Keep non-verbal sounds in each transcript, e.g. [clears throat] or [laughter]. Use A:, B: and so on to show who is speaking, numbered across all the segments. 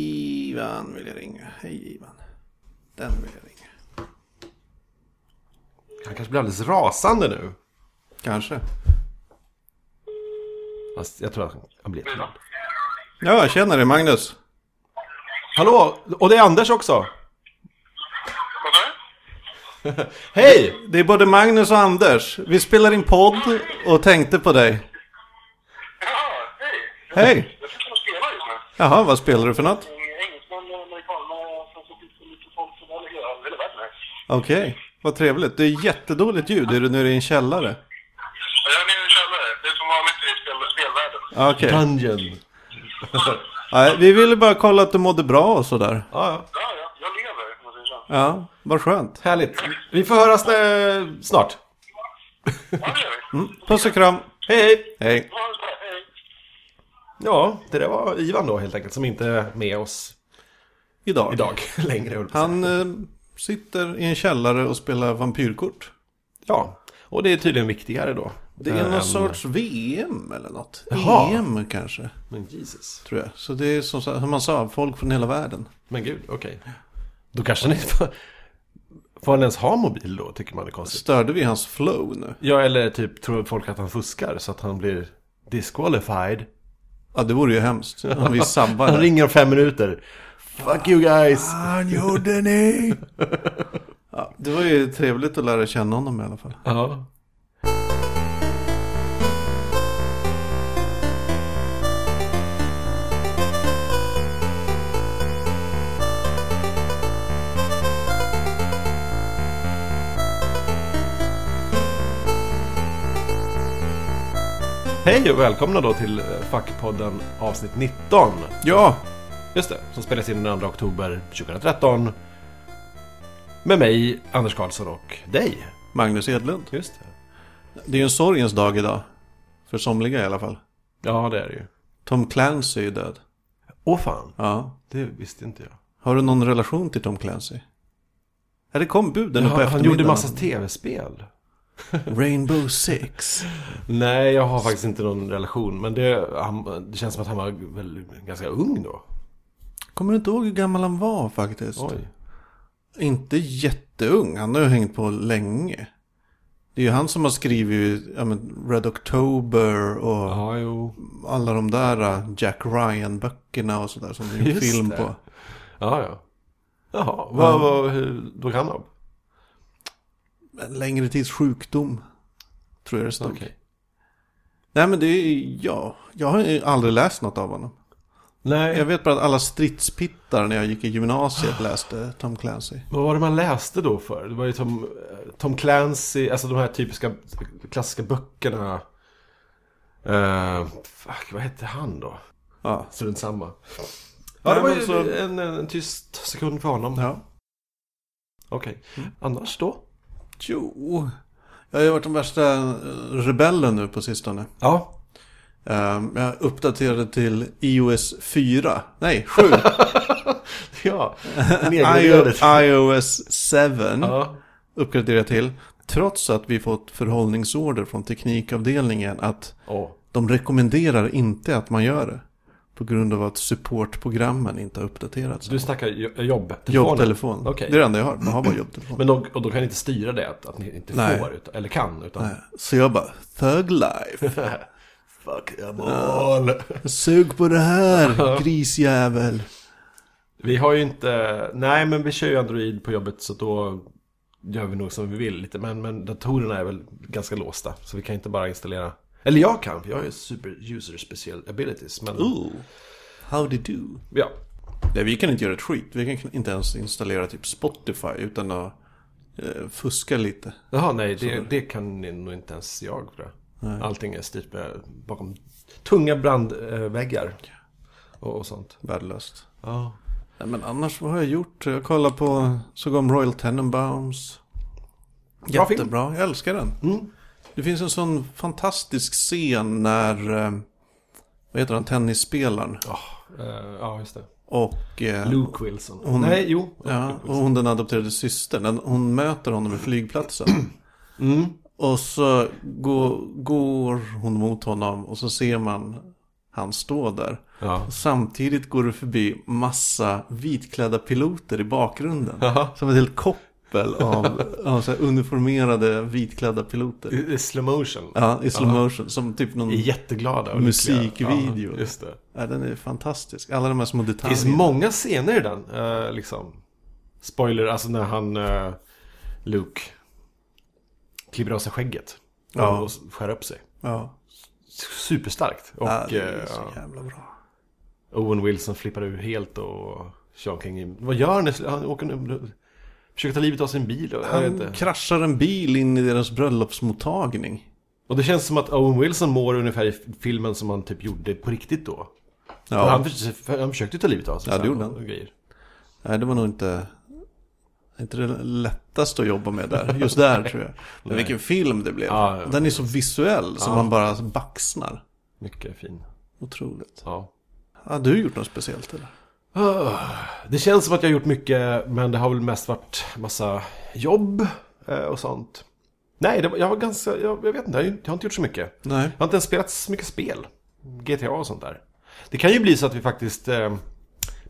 A: Ivan vill jag ringa. Hej Ivan. Den vill jag ringa.
B: Han kanske blir alldeles rasande nu.
A: Kanske.
B: Fast jag tror att han blir jätteglad.
A: Ja, känner dig Magnus.
B: Hallå! Och det är Anders också! Hej!
A: Det är både Magnus och Anders. Vi spelar in podd och tänkte på dig.
C: Ja, hej!
A: Hej!
C: Jag sitter och spelar just nu.
A: Jaha, vad spelar du för något?
C: Engelsmän, eh, amerikaner, sen så finns det lite folk från hela- hela hela världen här.
A: Okej, vad trevligt. Det är jättedåligt ljud. Är du nere i en källare?
C: Ja, Jag är nere i en källare. Det är som vanligt i spel- spelvärlden.
A: Okej.
B: Dungeon!
A: Nej, vi ville bara kolla att du mådde bra och sådär.
B: Ja, ja.
C: Ja, ja, jag lever, om man säger så.
A: Ja, vad skönt.
B: Härligt. Vi får höras eh, snart.
C: Ja, det gör vi.
A: Puss och kram.
B: Hej, hej!
A: Hej.
C: Ha det så bra, hej!
B: Ja, det där var Ivan då helt enkelt, som inte är med oss
A: Idag.
B: idag [laughs] längre. höll jag på att säga.
A: Han eh, sitter i en källare och spelar vampyrkort.
B: Ja, och det är tydligen viktigare då.
A: Det är någon
B: Än-
A: sorts VM eller något.
B: Eh, Jaha.
A: EM kanske,
B: Men Jesus.
A: tror jag. Så det är som, sa- som man sa, folk från hela världen.
B: Men gud, okej. Då kanske ni får... Får han ens ha mobil då, tycker man det är konstigt.
A: Störde vi hans flow nu?
B: Ja, eller typ tror folk att han fuskar så att han blir disqualified.
A: Ja, det vore ju hemskt om
B: [laughs]
A: vi sabbar
B: Han
A: det.
B: ringer om fem minuter. Fuck you guys!
A: Han gjorde ni! [laughs] Ja, det var ju trevligt att lära känna honom i alla fall.
B: Ja. Hej och välkomna då till eh, Fackpodden avsnitt 19.
A: Ja,
B: Just det, som spelas in den 2 oktober 2013. Med mig, Anders Karlsson och dig.
A: Magnus Edlund.
B: Just det.
A: Det är ju en sorgens dag idag. För somliga i alla fall.
B: Ja, det är det ju.
A: Tom Clancy är död.
B: Åh fan,
A: Ja.
B: det visste inte jag.
A: Har du någon relation till Tom Clancy? Ja, det kom buden
B: Han,
A: på
B: han gjorde
A: eftermiddagen.
B: massa tv-spel.
A: Rainbow Six.
B: Nej, jag har faktiskt inte någon relation. Men det, han, det känns som att han var väl ganska ung då.
A: Kommer du inte ihåg hur gammal han var faktiskt?
B: Oj.
A: Inte jätteung, han har ju hängt på länge. Det är ju han som har skrivit ja, men, Red October och
B: Ja, jo.
A: alla de där äh, Jack Ryan-böckerna och sådär som det är en
B: Just
A: film
B: det.
A: på.
B: Ja, ja. Jaha, vad, vad, hur dog han av?
A: En längre tids sjukdom, tror jag det stod.
B: Okej.
A: Nej men det är, ja, jag har ju aldrig läst något av honom. Jag
B: Nej,
A: vet bara att alla stridspittar när jag gick i gymnasiet läste Tom Clancy.
B: vad var det man läste då för? Det var ju Tom, eh, Tom Clancy, alltså de här typiska klassiska böckerna. Eh, fuck, vad hette han då?
A: Ja.
B: Strunt samma. Ja,
A: Nej,
B: det var
A: men
B: ju
A: så-
B: en, en, en tyst sekund för honom.
A: ja. Mm.
B: Okej. Annars då?
A: Jo, jag har ju varit den värsta eh, rebellen nu på sistone.
B: Ja.
A: Ehm, Jag uppdaterade till iOS 4. Nej, 7.
B: [laughs] [laughs]
A: [laughs]
B: Ja. Den
A: IO,
B: egenljudet.
A: iOS 7
B: Ja.
A: uppgraderade jag till. Trots att vi fått förhållningsorder från teknikavdelningen att
B: Åh.
A: de rekommenderar inte att man gör det. På grund av att supportprogrammen inte har uppdaterats.
B: Du snackar jo- jobb.
A: Jobbtelefon.
B: Okej.
A: Det är det enda jag har. Man har
B: [clears throat]
A: bara jobbtelefon.
B: Men de, och de kan inte styra det att, att ni inte
A: Nej.
B: får utan, eller kan utan...
A: Eh, Så jag bara, thug life.
B: [laughs] Fuck them all.
A: Sug på det här, grisjävel.
B: Vi har ju inte... Nej men vi kör ju Android på jobbet så då gör vi nog som vi vill lite. Men, men datorerna är väl ganska låsta. Så vi kan inte bara installera... Eller jag kan, för jag har ju super user special abilities. Men
A: Ooh. Howdy do.
B: ja,
A: Nej, vi kan inte göra ett skit. Vi kan inte ens installera typ Spotify utan att eh, fuska lite.
B: Jaha, nej, det, det kan ni nog inte ens jag. För det. Allting är styrt med, bakom tunga brandväggar och, och sånt.
A: Värdelöst.
B: Ja.
A: Nej, men annars, vad har jag gjort? Jag kollar på, såg om Royal Tenenbaums.
B: Bra film. Mm.
A: Jättebra, jag älskar den. Det finns en sån fantastisk scen när, eh, vad heter han, tennisspelaren
B: Eh, ja, just det.
A: och... eh,
B: Luke Wilson. nej, jo.
A: Ja, och hon den adopterade systern, den- hon möter honom i flygplatsen. Och så går, går hon mot honom och så ser man han står där.
B: Ja.
A: Och samtidigt går du förbi massa vitklädda piloter i bakgrunden.
B: Ja.
A: Som ett helt koppel av, av så här uniformerade vitklädda piloter.
B: I, i slow motion.
A: Ja, i slow motion. Som typ någon...
B: Är jätteglada och lyckliga.
A: Musikvideo.
B: Ja, just det.
A: Ja, den är fantastisk. Alla de här små
B: Det finns
A: detaljerna.
B: många scener i den. eh, liksom. Spoiler, alltså när han, eh, Luke, klipper av sig skägget.
A: Ja.
B: Och skär upp sig.
A: Ja.
B: Superstarkt. Och
A: ja, det är
B: eh,
A: så jävla bra.
B: Owen Wilson flippar ur helt och Sean King. Vad gör han? Han åker nu, försöker ta livet av sin bil. Och, jag vet
A: Han
B: inte.
A: kraschar en bil in i deras bröllopsmottagning.
B: och det känns som att Owen Wilson mår ungefär i filmen som han typ gjorde på riktigt då.
A: Ja.
B: Han, försökte, han försökte ta livet av sig.
A: Ja, det
B: sen
A: gjorde
B: och-
A: han.
B: och grejer.
A: Nej, det var nog inte, inte det lättaste att jobba med där. Just där tror
B: [laughs]
A: jag. Men vilken film det blev.
B: Ja, ja,
A: Den är så visuell som man bara baxnar.
B: Mycket fin.
A: Otroligt.
B: Ja.
A: Har du gjort något speciellt eller?
B: Ah, Det känns som att jag har gjort mycket, men det har väl mest varit massa jobb eh, och sånt. Nej, det var, jag var ganska, jag, jag vet inte, jag har ju- jag har inte gjort så mycket.
A: Nej.
B: Jag har inte ens spelat så mycket spel. GTA och sånt där. Det kan ju bli så att vi faktiskt eh,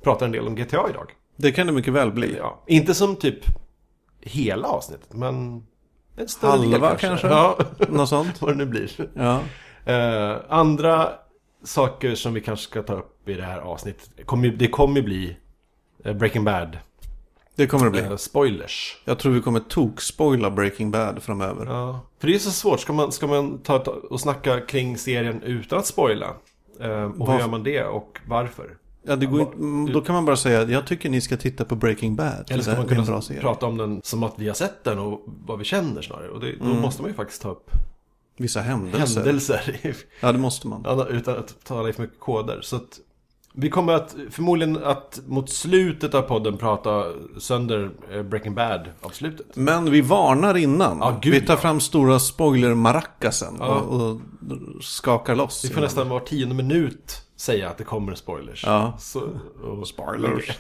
B: pratar en del om GTA idag.
A: Det kan det mycket väl bli.
B: Ja. Inte som typ hela avsnittet, men en större del
A: Halva
B: kanske.
A: kanske?
B: Ja, [laughs]
A: Något sånt?
B: vad det nu blir.
A: Ja.
B: Eh, andra saker som vi kanske ska ta upp i det här avsnittet, kommer ju- det kommer ju bli eh, Breaking Bad.
A: Det kommer det bli.
B: Eh, spoilers.
A: Jag tror vi kommer tokspoila Breaking Bad framöver.
B: Ja. För det är så svårt, ska man, ska man ta, ta och snacka kring serien utan att spoila? Eh, och
A: Varför?
B: hur gör man det och varför?
A: Ja, det går, inte- mm, då kan man bara säga att jag tycker ni ska titta på Breaking Bad.
B: Eller ska
A: Det
B: man
A: är en
B: kunna
A: bra serie.
B: prata om den som att vi har sett den och vad vi känner snarare? Och det, då
A: Mm.
B: måste man ju faktiskt ta upp
A: Vissa händelser.
B: händelser i- [laughs]
A: Ja, det måste man.
B: Anna- utan att tala i för mycket koder. Så att vi kommer att förmodligen att mot slutet av podden prata sönder eh, Breaking Bad-avslutet.
A: Men vi varnar innan.
B: Ja, gud,
A: vi tar
B: ja.
A: fram stora spoiler-marackasen och, och skakar loss.
B: Vi får nästan var tionde minut säga att det kommer spoilers.
A: Ja.
B: Så, och,
A: Spoilers.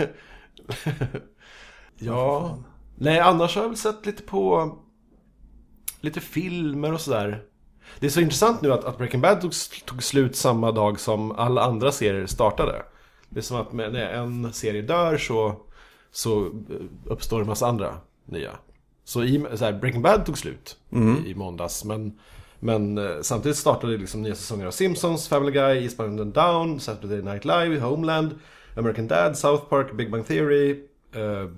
B: ja. Nej, annars har jag väl sett lite på lite filmer och sådär. Det är så intressant nu att, att Breaking Bad tog, tog slut samma dag som alla andra serier startade. Det är som att med, när en serie dör så, så eh, uppstår en massa andra nya. Så, i, så här, Breaking Bad tog slut i, i måndags. Men, men eh, samtidigt startade liksom nya säsonger av Simpsons, Family Guy, Eastbound and Down, Saturday Night Live, Homeland, American Dad, South Park, Big Bang Theory. Eh,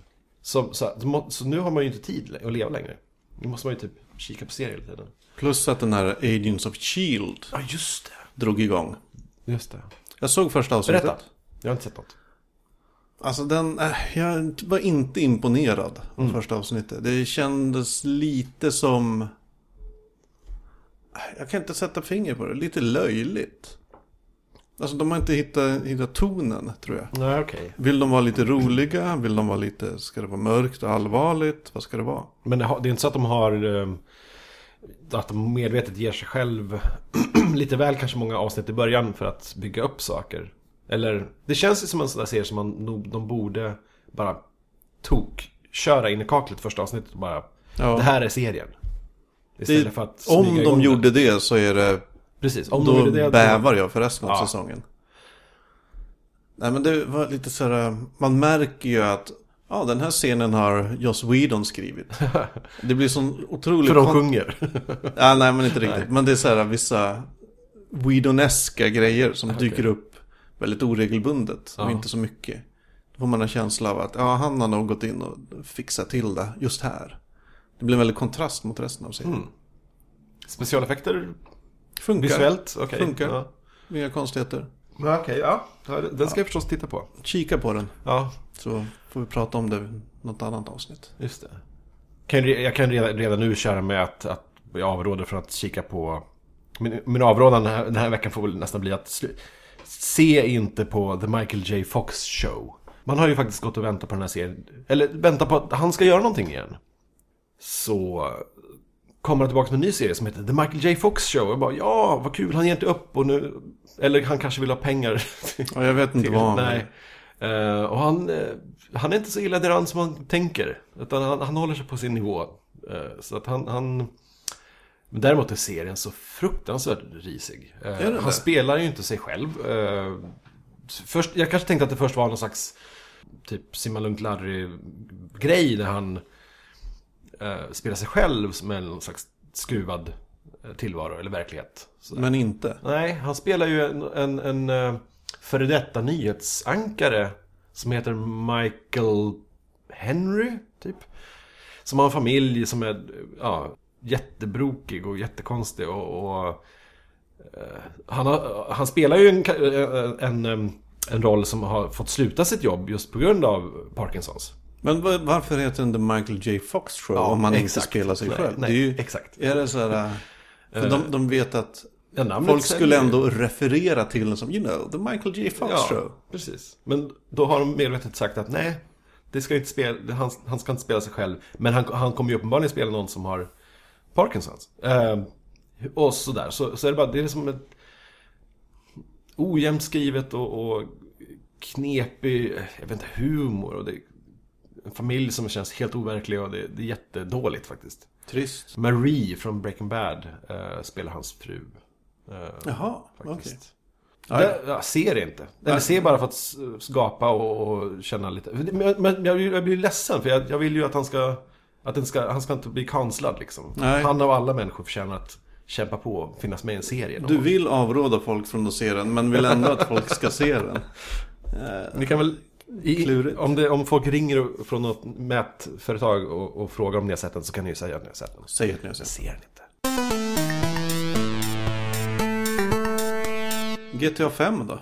B: så, så, så, så nu har man ju inte tid lä- att leva längre. Nu måste man ju typ kika på serier hela tiden.
A: Plus att den här Agents of Shield
B: Ja, just det.
A: E drog igång.
B: Just det.
A: Jag såg första avsnittet.
B: Berätta. Jag har inte sett något.
A: Alltså den, eh, jag var inte imponerad av
B: Mm.
A: första avsnittet. Det kändes lite som... äh, Jag kan inte sätta finger på det. Lite löjligt. Alltså de har inte hittat, hittat tonen tror jag.
B: Nej, okej.
A: Vill de vara lite roliga? Vill de vara lite, ska det vara mörkt och allvarligt? Vad ska det vara?
B: Men det har- det är inte så att de har... eh, Att de medvetet ger sig själv [clears throat] lite väl kanske många avsnitt i början för att bygga upp saker. Eller, det känns ju som en sån där serie som man, nog- de borde bara tok köra in i kaklet första avsnittet och bara...
A: Ja.
B: Det här är serien. Istället för att smyga
A: Om
B: igång
A: de
B: den.
A: gjorde det så är det,
B: Precis, om
A: då
B: de gjorde det...
A: bävar jag för resten av
B: Ja.
A: säsongen. Nej men det var lite så här, man märker ju att ja, den här scenen har Joss Whedon
B: [laughs]
A: skrivit. Det blir sån otrolig...
B: För de
A: kon- [laughs]
B: sjunger.
A: ja, nej men inte riktigt. Men det är så här vissa Whedoneska grejer som dyker upp väldigt oregelbundet och
B: Ja.
A: inte så mycket. Då får man en känsla av att ja, han har nog gått in och fixat till det just här. Det blir en väldig kontrast mot resten av
B: Mm.
A: serien.
B: Specialeffekter
A: Funkar.
B: visuellt? Okej.
A: Funkar.
B: Ja.
A: Inga konstigheter.
B: Ja, Okej, ja. Ja, Den ska jag förstås titta på.
A: Kika på den.
B: Ja,
A: Så får vi prata om det i något annat avsnitt.
B: just det. Kan ju re- Jag kan redan, redan nu köra med att, att jag avråder från att kika på... Min, min avrådan den här, den här veckan får väl nästan bli att slu- se inte på The Michael J Fox Show. Man har ju faktiskt gått och väntat på den här serien. Eller väntat på att han ska göra någonting igen. Så kommer han tillbaka med en ny serie som heter The Michael J Fox Show. Jag bara, ja, vad kul, han ger inte upp och nu... Eller han kanske vill ha pengar. [laughs]
A: Ja, jag vet inte vad han
B: Nej. Eh, och han, eh, han är inte så illa däran som man tänker. Utan han, han håller sig på sin nivå. Eh, så att han, han, Men däremot är serien så fruktansvärt risig. Eh,
A: den det?
B: han spelar ju inte sig själv. Eh, först, jag kanske tänkte att det först var någon slags typ simmalugnt Larry-grej där han eh, spelar sig själv med någon slags skruvad eh, tillvaro eller verklighet. Så
A: Men inte.
B: Nej, han spelar ju en, en, en eh, före detta nyhetsankare som heter Michael Henry, typ. Som har en familj som är ja, jättebrokig och jättekonstig och... och eh, han, har, han spelar ju en, ka- eh, en, en, en roll som har fått sluta sitt jobb just på grund av Parkinsons.
A: Men va- varför heter den The Michael J. Fox Show om man inte
B: exakt.
A: spelar sig
B: Nej,
A: själv?
B: nej,
A: det är ju,
B: exakt. Eh,
A: Är det så här... äh, För de, de vet att
B: Ja, namnet
A: folk
B: säljer
A: skulle
B: ju.
A: ändå referera till den som You know, The Michael J. Fox Show.
B: precis. Men då har de medvetet sagt att nej, det ska inte spela, han, han ska inte spela sig själv. Men han, han kommer ju uppenbarligen spela någon som har Parkinsons. Eh, och sådär. Så, så är det bara, det är som ett ojämnt skrivet och, och knepig, jag vet inte, humor. Och det är en familj som känns helt overklig och det, det är jättedåligt faktiskt.
A: Trist.
B: Marie från Breaking Bad eh, spelar hans fru. Eh,
A: Jaha, okej.
B: faktiskt. Det, jag ser inte. Eller ser bara för att s- skapa och, och känna lite. Men, men jag, blir- jag blir ledsen för jag, jag vill ju att han ska... Att den ska, han ska inte bli kanslad liksom.
A: Nej.
B: Han av alla människor förtjänar att kämpa på och finnas med i en serie. någon
A: Du
B: gång.
A: vill avråda folk från att se den, men vill ändå att folk ska se den.
B: Vi kan väl... I,
A: Klurigt.
B: om, det, om folk ringer från något mätföretag och, och frågar om ni har sett den så kan ni ju säga att ni har sett den.
A: Säg att ni har
B: Jag
A: sett
B: ser den inte.
A: den. GTA 5 då?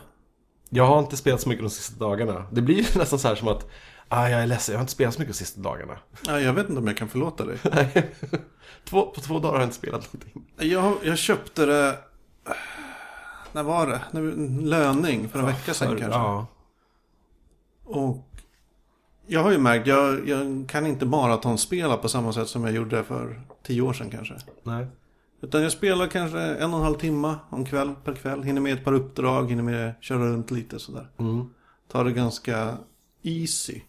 B: Jag har inte spelat så mycket de sista dagarna. Det blir ju [laughs] nästan så här som att... Ah, jag är ledsen, jag har inte spelat så mycket de sista dagarna. [laughs]
A: Ja, jag vet inte om jag kan förlåta dig.
B: Nej. två, på två dagar har jag inte spelat någonting.
A: Jag, jag köpte det... När var det? När vi- Löning, för en vecka sedan kanske.
B: Ja.
A: Och jag har ju märkt, jag, jag kan inte maratonspela på samma sätt som jag gjorde för tio år sedan kanske.
B: Nej.
A: Utan jag spelar kanske en och en halv timme om kväll per kväll. Hinner med ett par uppdrag, hinner med att köra runt lite sådär. Tar det ganska easy,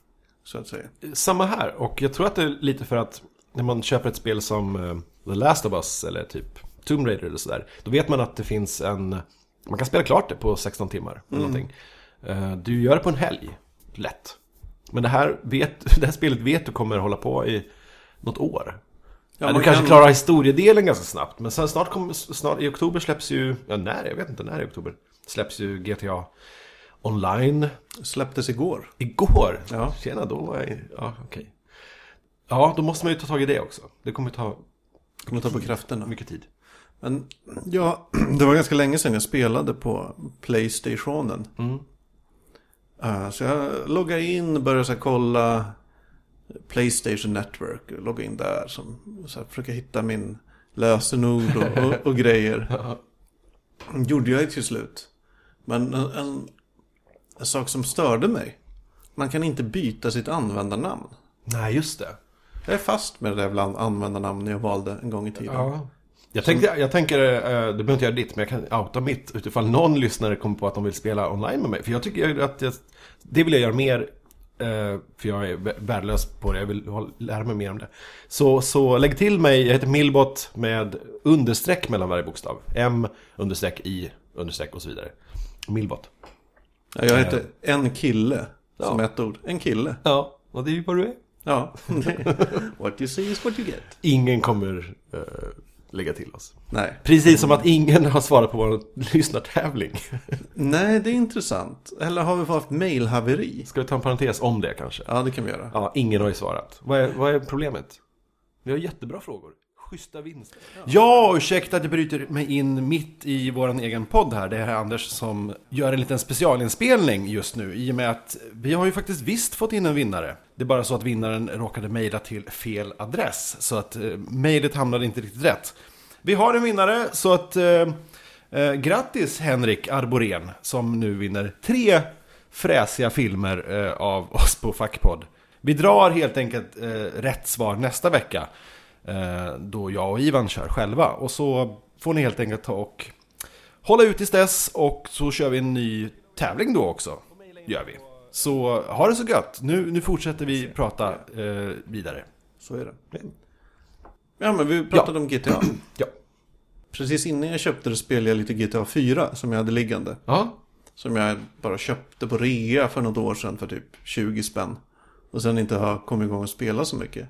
A: så att säga.
B: Samma här, och jag tror att det är lite för att när man köper ett spel som eh, The Last of Us eller typ Tomb Raider eller sådär, då vet man att det finns en... Man kan spela klart det på 16 timmar eller
A: Mm.
B: någonting. Eh, Du gör det på en helg, lätt. Men det här, vet, [laughs] det här spelet vet du kommer hålla på i något år.
A: Ja,
B: Ja, du
A: man
B: kanske
A: kan-
B: klarar historiedelen ganska snabbt, men sen snart, kommer, snart i oktober släpps ju... Ja, när? Jag vet inte när i oktober. Släpps ju GTA Online.
A: Släpptes igår.
B: Igår?
A: Ja.
B: Tjena, då var jag... Ja, okej. Ja, då måste man ju ta tag i det också. Det kommer ta
A: Kommer ta på krafterna.
B: mycket tid.
A: Men ja, [clears throat] det var ganska länge sedan jag spelade på Playstationen. Eh, så jag loggade in, började så här, kolla Playstation Network. och Logga in där, som, så här, försöka hitta min lösenord och, och, och grejer. Gjorde jag ju till slut. Men en, en, en sak som störde mig. Man kan inte byta sitt användarnamn.
B: Nej, just det.
A: Jag är fast med det där bland användarnamn jag valde en gång i tiden.
B: Ja. Jag, tänkte, jag tänker, eh, du behöver inte göra ditt, men jag kan outa mitt utifall någon lyssnare kommer på att de vill spela online med mig. För jag tycker ju att jag, det vill jag göra mer, eh, för jag är vä- värdelös på det. Jag vill ha- lära mig mer om det. Så, så lägg till mig, jag heter Millbot med understreck mellan varje bokstav. M, understreck, I, understreck och så vidare. Millbot.
A: Ja, jag heter en kille.
B: Ja.
A: Som ett ord. En kille.
B: Ja, och det är ju vad du är.
A: Ja. [laughs] what you see is what you get.
B: Ingen kommer eh, lägga till oss.
A: Nej.
B: Precis som att ingen har svarat på vår lyssnartävling. [laughs]
A: Nej, det är intressant. Eller har vi haft mailhaveri?
B: Ska vi ta en parentes om det kanske?
A: Ja, det kan vi göra.
B: Ja, ingen har ju svarat. Vad är, vad är problemet? Vi har jättebra frågor. Schyssta vinster. Ja, ursäkta att jag bryter mig in mitt i vår egen podd här. Det är Anders som gör en liten specialinspelning just nu. I och med att vi har ju faktiskt visst fått in en vinnare. Det är bara så att vinnaren råkade mejla till fel adress. Så att eh, mejlet hamnade inte riktigt rätt. Vi har en vinnare så att eh, eh, grattis Henrik Arborén som nu vinner tre fräsiga filmer eh, av oss på Fackpodd. Vi drar helt enkelt eh, rätt svar nästa vecka eh, då jag och Ivan kör själva. Och så får ni helt enkelt ta och hålla ut tills dess och så kör vi en ny tävling då också. Gör vi. Så ha det så gött. Nu, nu fortsätter vi prata eh, vidare.
A: Så är det. [clears throat] Ja, men vi pratade om GTA.
B: Ja.
A: precis innan jag köpte det spelade jag lite GTA 4 som jag hade liggande.
B: Ja,
A: Som jag bara köpte på rea för något år sedan för typ 20 spänn. Och sen inte har kommit igång och spela så mycket.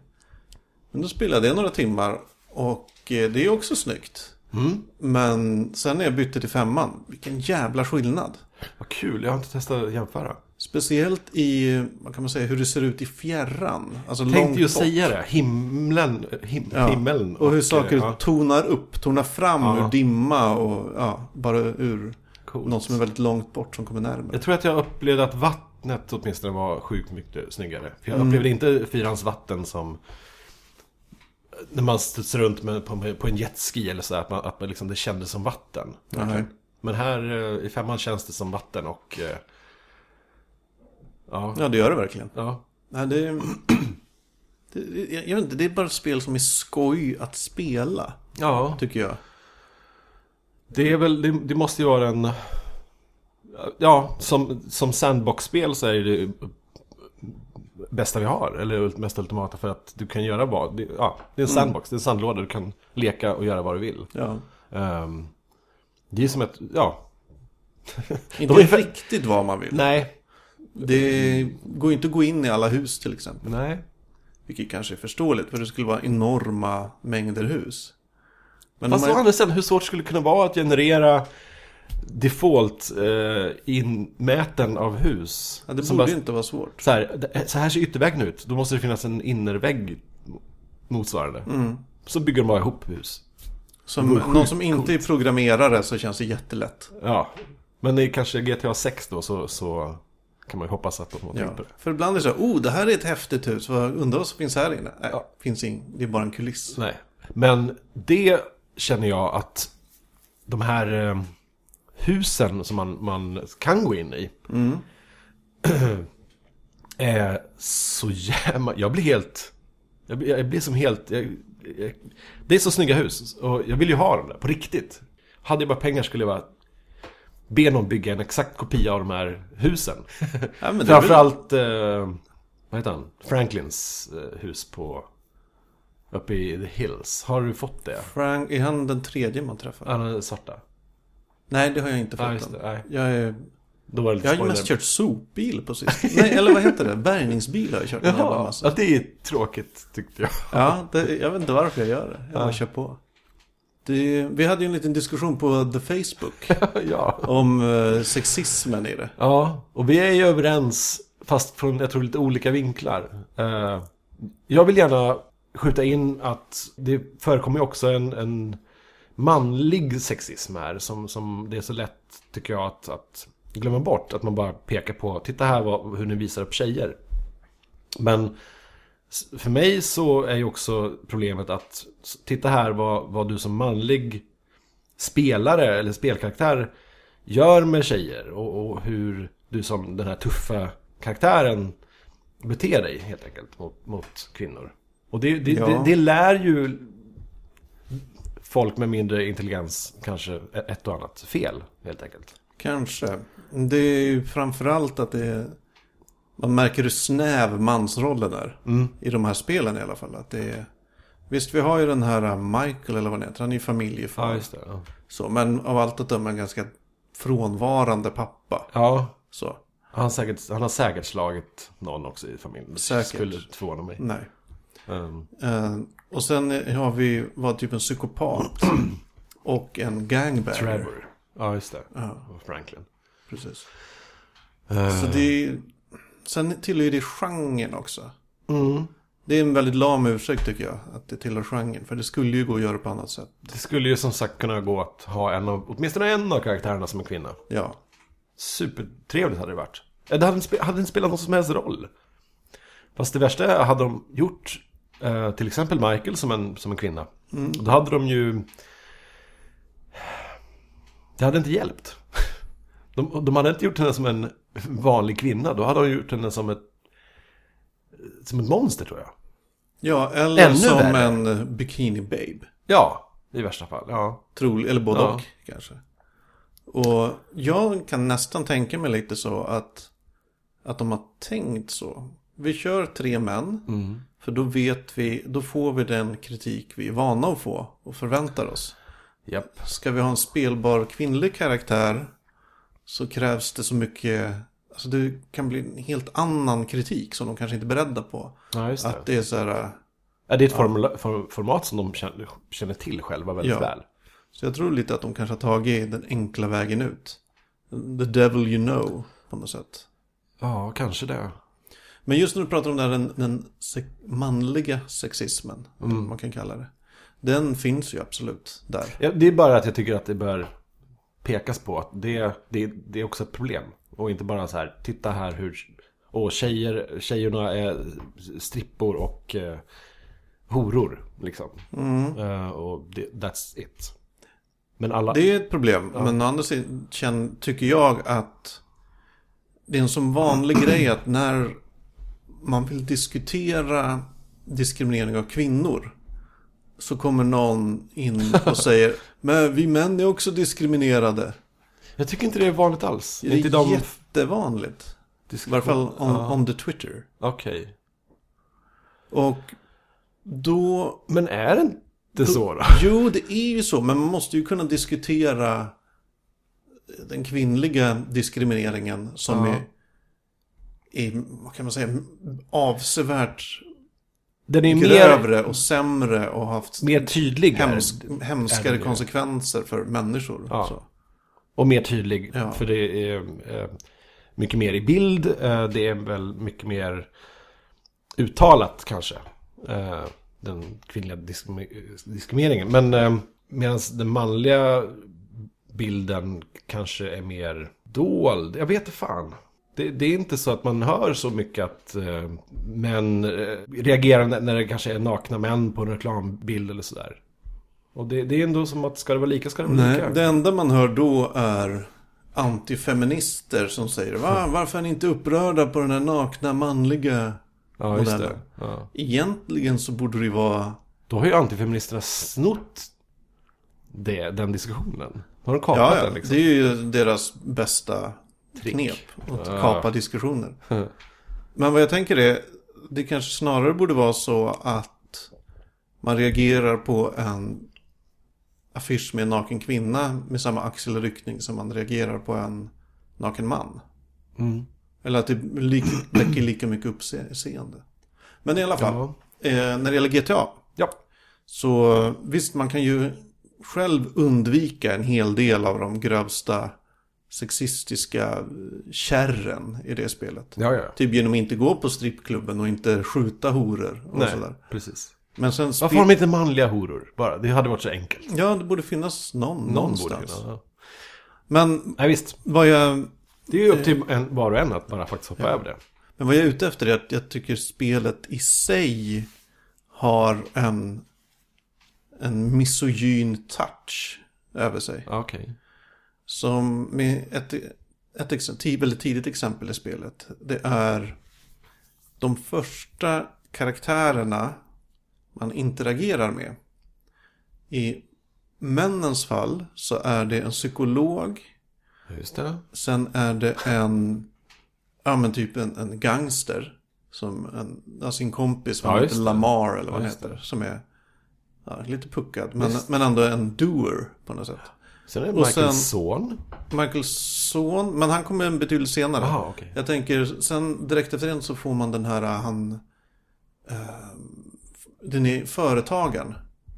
A: Men då spelade jag några timmar och eh, det är också snyggt.
B: Mm.
A: Men sen när jag bytte till femman, vilken jävla skillnad.
B: vad kul. Jag har inte testat att jämföra.
A: Speciellt i, vad kan man säga, hur det ser ut i fjärran. Alltså långt
B: Tänkte ju
A: bort.
B: säga det. Himlen. Him,
A: Ja.
B: Himmeln.
A: Och hur
B: eh,
A: saker
B: ja,
A: tonar upp, tonar fram
B: Ja.
A: ur dimma och ja, bara ur
B: coolt.
A: något som är väldigt långt bort som kommer närmare.
B: Jag tror att jag upplevde att vattnet åtminstone var sjukt mycket snyggare. För jag
A: Mm.
B: upplevde inte fyrans vatten som när man studsar runt med, på, på en jetski eller så där, att, man, att man liksom, det kändes som vatten.
A: Nej.
B: Men här eh, i femman känns det som vatten och... eh, Ja.
A: Ja, det gör det verkligen.
B: ja.
A: Nej, det, [clears throat] det, jag, jag vet inte, det är bara ett spel som är skoj att spela,
B: Ja,
A: tycker jag.
B: det är väl, det, det måste ju vara en... Ja, som, som sandbox-spel så är det det bästa vi har. Eller mest ultimata för att du kan göra vad... Det, ja, det är en
A: Mm.
B: sandbox, det är en sandlåda. Du kan leka och göra vad du vill.
A: Ja.
B: Ehm, det är som ett... Ja,
A: Inte
B: är för-
A: riktigt vad man vill.
B: nej.
A: Det går ju inte att gå in i alla hus till exempel.
B: Nej.
A: Vilket kanske är förståeligt, för det skulle vara enorma mängder hus. Men
B: Fast
A: om
B: å
A: man,
B: andra sidan, hur svårt skulle det kunna vara att generera default eh, inmäten av hus?
A: ja, det
B: Som
A: borde
B: bara-
A: ju inte vara svårt.
B: Så här, det- så här ser ytterväggen ut. Då måste det finnas en innervägg motsvarande. Så bygger de bara ihop hus.
A: Som någon som inte är programmerare så känns det jättelätt.
B: Ja. Men i kanske GTA 6 då så, så kan man ju hoppas att de har tänkt
A: Ja.
B: på det.
A: För ibland är det så här, oh, det här är ett häftigt hus, vad undrar vad som finns här inne? Nej,
B: Ja.
A: finns ing, det är bara en kuliss.
B: Nej. Men det känner jag att de här eh, husen som man, man kan gå in i. [clears throat] är så jävla... Jag blir helt... Jag blir, jag blir som helt... Jag, jag, det är så snygga hus. Och jag vill ju ha dem där, på riktigt. Hade jag bara pengar skulle jag bara be någon bygga en exakt kopia av de här husen.
A: Ja, men det är
B: Framförallt... Eh, vad heter han? Franklins eh, hus på... Uppe i The Hills. Har du fått det?
A: Frank, är han den tredje man träffar?
B: Han är svarta.
A: Nej, det har jag inte
B: Ja,
A: fått
B: just
A: än.
B: det. Nej.
A: Jag, är,
B: Då var det lite
A: jag har ju
B: spoiler.
A: mest kört sopbil på sistone. Nej, eller vad heter det? Bärgningsbil har jag kört en jävla
B: Jaha,
A: massa.
B: ja, det är tråkigt tyckte jag. [laughs]
A: Ja, det, jag vet inte varför jag gör det. Jag bara kör på. Det, vi hade ju en liten diskussion på The Facebook
B: ja.
A: om eh, sexismen i det.
B: Ja, och vi är ju överens, fast från jag tror lite olika vinklar. Eh, jag vill gärna skjuta in att det förekommer ju också en, en manlig sexism här som, som det är så lätt, tycker jag, att, att glömma bort. Att man bara pekar på, titta här vad, hur ni visar upp tjejer. Men s- för mig så är ju också problemet att s- titta här vad, vad du som manlig spelare eller spelkaraktär gör med tjejer och, och hur du som den här tuffa karaktären beter dig helt enkelt mot, mot kvinnor. Och det, det,
A: Ja.
B: det, det lär ju folk med mindre intelligens kanske ett och annat fel helt enkelt.
A: Kanske. Det är ju framförallt att det är... Man märker hur snäv mansrollen är.
B: Mm.
A: I de här spelen i alla fall. Att det är, visst, vi har ju den här eh, Michael eller vad han heter. Han är ju familjefar.
B: det. Ja.
A: så, men av allt att döma en ganska frånvarande pappa.
B: ja.
A: Så,
B: Han, säkert, han har säkert slagit någon också i familjen. Det
A: Säkert.
B: skulle inte förvåna mig.
A: nej.
B: Ehm,
A: Eh, och sen eh, har vi, var typ en
B: [clears throat]
A: psykopat. och en gangbanger.
B: Trevor. Ja, just det. Och Franklin.
A: Precis.
B: Eh.
A: Så det är, Sen tillhör ju det genren också.
B: Mm.
A: Det är en väldigt lam ursäkt tycker jag. Att det tillhör genren. För det skulle ju gå att göra på annat sätt.
B: Det skulle ju som sagt kunna gå att ha en av, åtminstone en av karaktärerna som en kvinna.
A: Ja.
B: Supertrevligt hade det varit. Eh, Det hade inte, spe- hade inte spelat någon som helst roll. Fast det värsta är, hade de gjort eh, till exempel Michael som en, som en kvinna. Då hade de ju... Det hade inte hjälpt. [laughs] De, de hade inte gjort henne som en vanlig kvinna. Då hade de gjort henne som ett... Som ett monster tror jag.
A: Ja, eller
B: Ännu
A: som
B: värre.
A: en eh, bikini babe.
B: Ja, i värsta fall. Ja.
A: Trolig, eller både
B: Ja.
A: och kanske. Och jag kan nästan tänka mig lite så att, att de har tänkt så. Vi kör tre män.
B: Mm.
A: För då vet vi, då får vi den kritik vi är vana att få och förväntar oss.
B: Japp.
A: Ska vi ha en spelbar kvinnlig karaktär så krävs det så mycket, alltså det kan bli en helt annan kritik som de kanske inte är beredda på.
B: Ja, just det.
A: Att det är så här,
B: Ja, det är ett formula, for, format som de känner, känner till själva väldigt
A: Ja.
B: väl.
A: så jag tror lite att de kanske har tagit den enkla vägen ut. The devil you know, på något sätt.
B: Ja, kanske det.
A: Men just när du pratar om den, här, den, den se- manliga sexismen, eller vad man kan kalla det. Den finns ju absolut där.
B: Ja, det är bara att jag tycker att det bör pekas på att det, det, det är också ett problem. Och inte bara så här, titta här hur... Och tjejer, tjejerna är strippor och eh, horor, liksom. Eh, och det, that's it. Men alla...
A: Det är ett problem, men å andra sidan känn- tycker jag att det är en sån vanlig grej att när man vill diskutera diskriminering av kvinnor så kommer någon in och säger men vi män är också diskriminerade.
B: Jag tycker inte det är vanligt alls.
A: Det är
B: inte i de...
A: jättevanligt. I varje fall on, on the Twitter.
B: Okej.
A: Och då
B: Men är det inte så då?
A: Jo, det är ju så, men man måste ju kunna diskutera den kvinnliga diskrimineringen som
B: Ja.
A: är, är, vad kan man säga, avsevärt
B: Den är mer,
A: grövre och sämre och haft
B: mer tydlig. där.
A: hemsk, hemskare konsekvenser för människor.
B: Ja.
A: Så.
B: Och mer tydlig.
A: Ja.
B: För det är eh, mycket mer i bild. Eh, det är väl mycket mer uttalat kanske. Eh, den kvinnliga diskrim- diskrimineringen. Men eh, medan den manliga bilden kanske är mer dold. Jag vet inte fan. Det, det är inte så att man hör så mycket att eh, män eh, reagerar när när det kanske är nakna män på en reklambild eller sådär. Och det, det är ändå som att ska det vara lika ska det vara
A: Nej,
B: lika.
A: det enda man hör då är antifeminister som säger Va,
B: Mm.
A: varför är ni inte upprörda på den här nakna manliga
B: Ja, just
A: modellen?
B: det. Ja.
A: Egentligen så borde det ju vara
B: Då har ju antifeministerna snott det, den diskussionen. Har de kapat
A: Ja, ja.
B: den liksom?
A: det är ju deras bästa
B: Trick.
A: knep. Att
B: Ja.
A: kapa
B: [laughs]
A: diskussioner. Men vad jag tänker är, det kanske snarare borde vara så att man reagerar på en affisch med en naken kvinna med samma axelryckning som man reagerar på en naken man.
B: Mm.
A: Eller att det li- väcker lika mycket uppseende. Men i alla fall,
B: Ja.
A: eh, när det gäller GTA.
B: ja.
A: Så visst, man kan ju själv undvika en hel del av de grövsta sexistiska eh, kärren i det spelet.
B: Ja, ja.
A: Typ genom att inte gå på strippklubben och inte skjuta horor och
B: Nej,
A: sådär.
B: precis.
A: Men sen... spe-
B: Varför har de inte manliga horor? Bara, det hade varit så enkelt.
A: Ja, det borde finnas någon,
B: Någon borde
A: någonstans.
B: kunna. Ja.
A: Men
B: Nej, visst.
A: vad jag...
B: Det är ju upp
A: Eh.
B: till en, var och en att bara faktiskt hoppa över det.
A: Men vad jag är ute efter är att jag tycker spelet i sig har en, en misogyn touch över sig.
B: Ja, Okej.
A: Som med ett, ett ex- ti- väldigt tidigt exempel i spelet. Det är de första karaktärerna man interagerar med. I männens fall så är det en psykolog.
B: Just det.
A: Sen är det en, ja men typ en, en gangster. Som en, ja, sin kompis,
B: Ja,
A: vad
B: just
A: heter
B: det.
A: Lamar eller vad han
B: just
A: heter. Som är ja, lite puckad. Men, men ändå en doer på något sätt.
B: Sen är det
A: Och
B: Michaels
A: sen-
B: son.
A: Michaels son, men han kommer en betydligt senare.
B: Aha, okej.
A: Jag tänker, sen direkt efter den så får man den här, eh, han... eh, den är företagaren.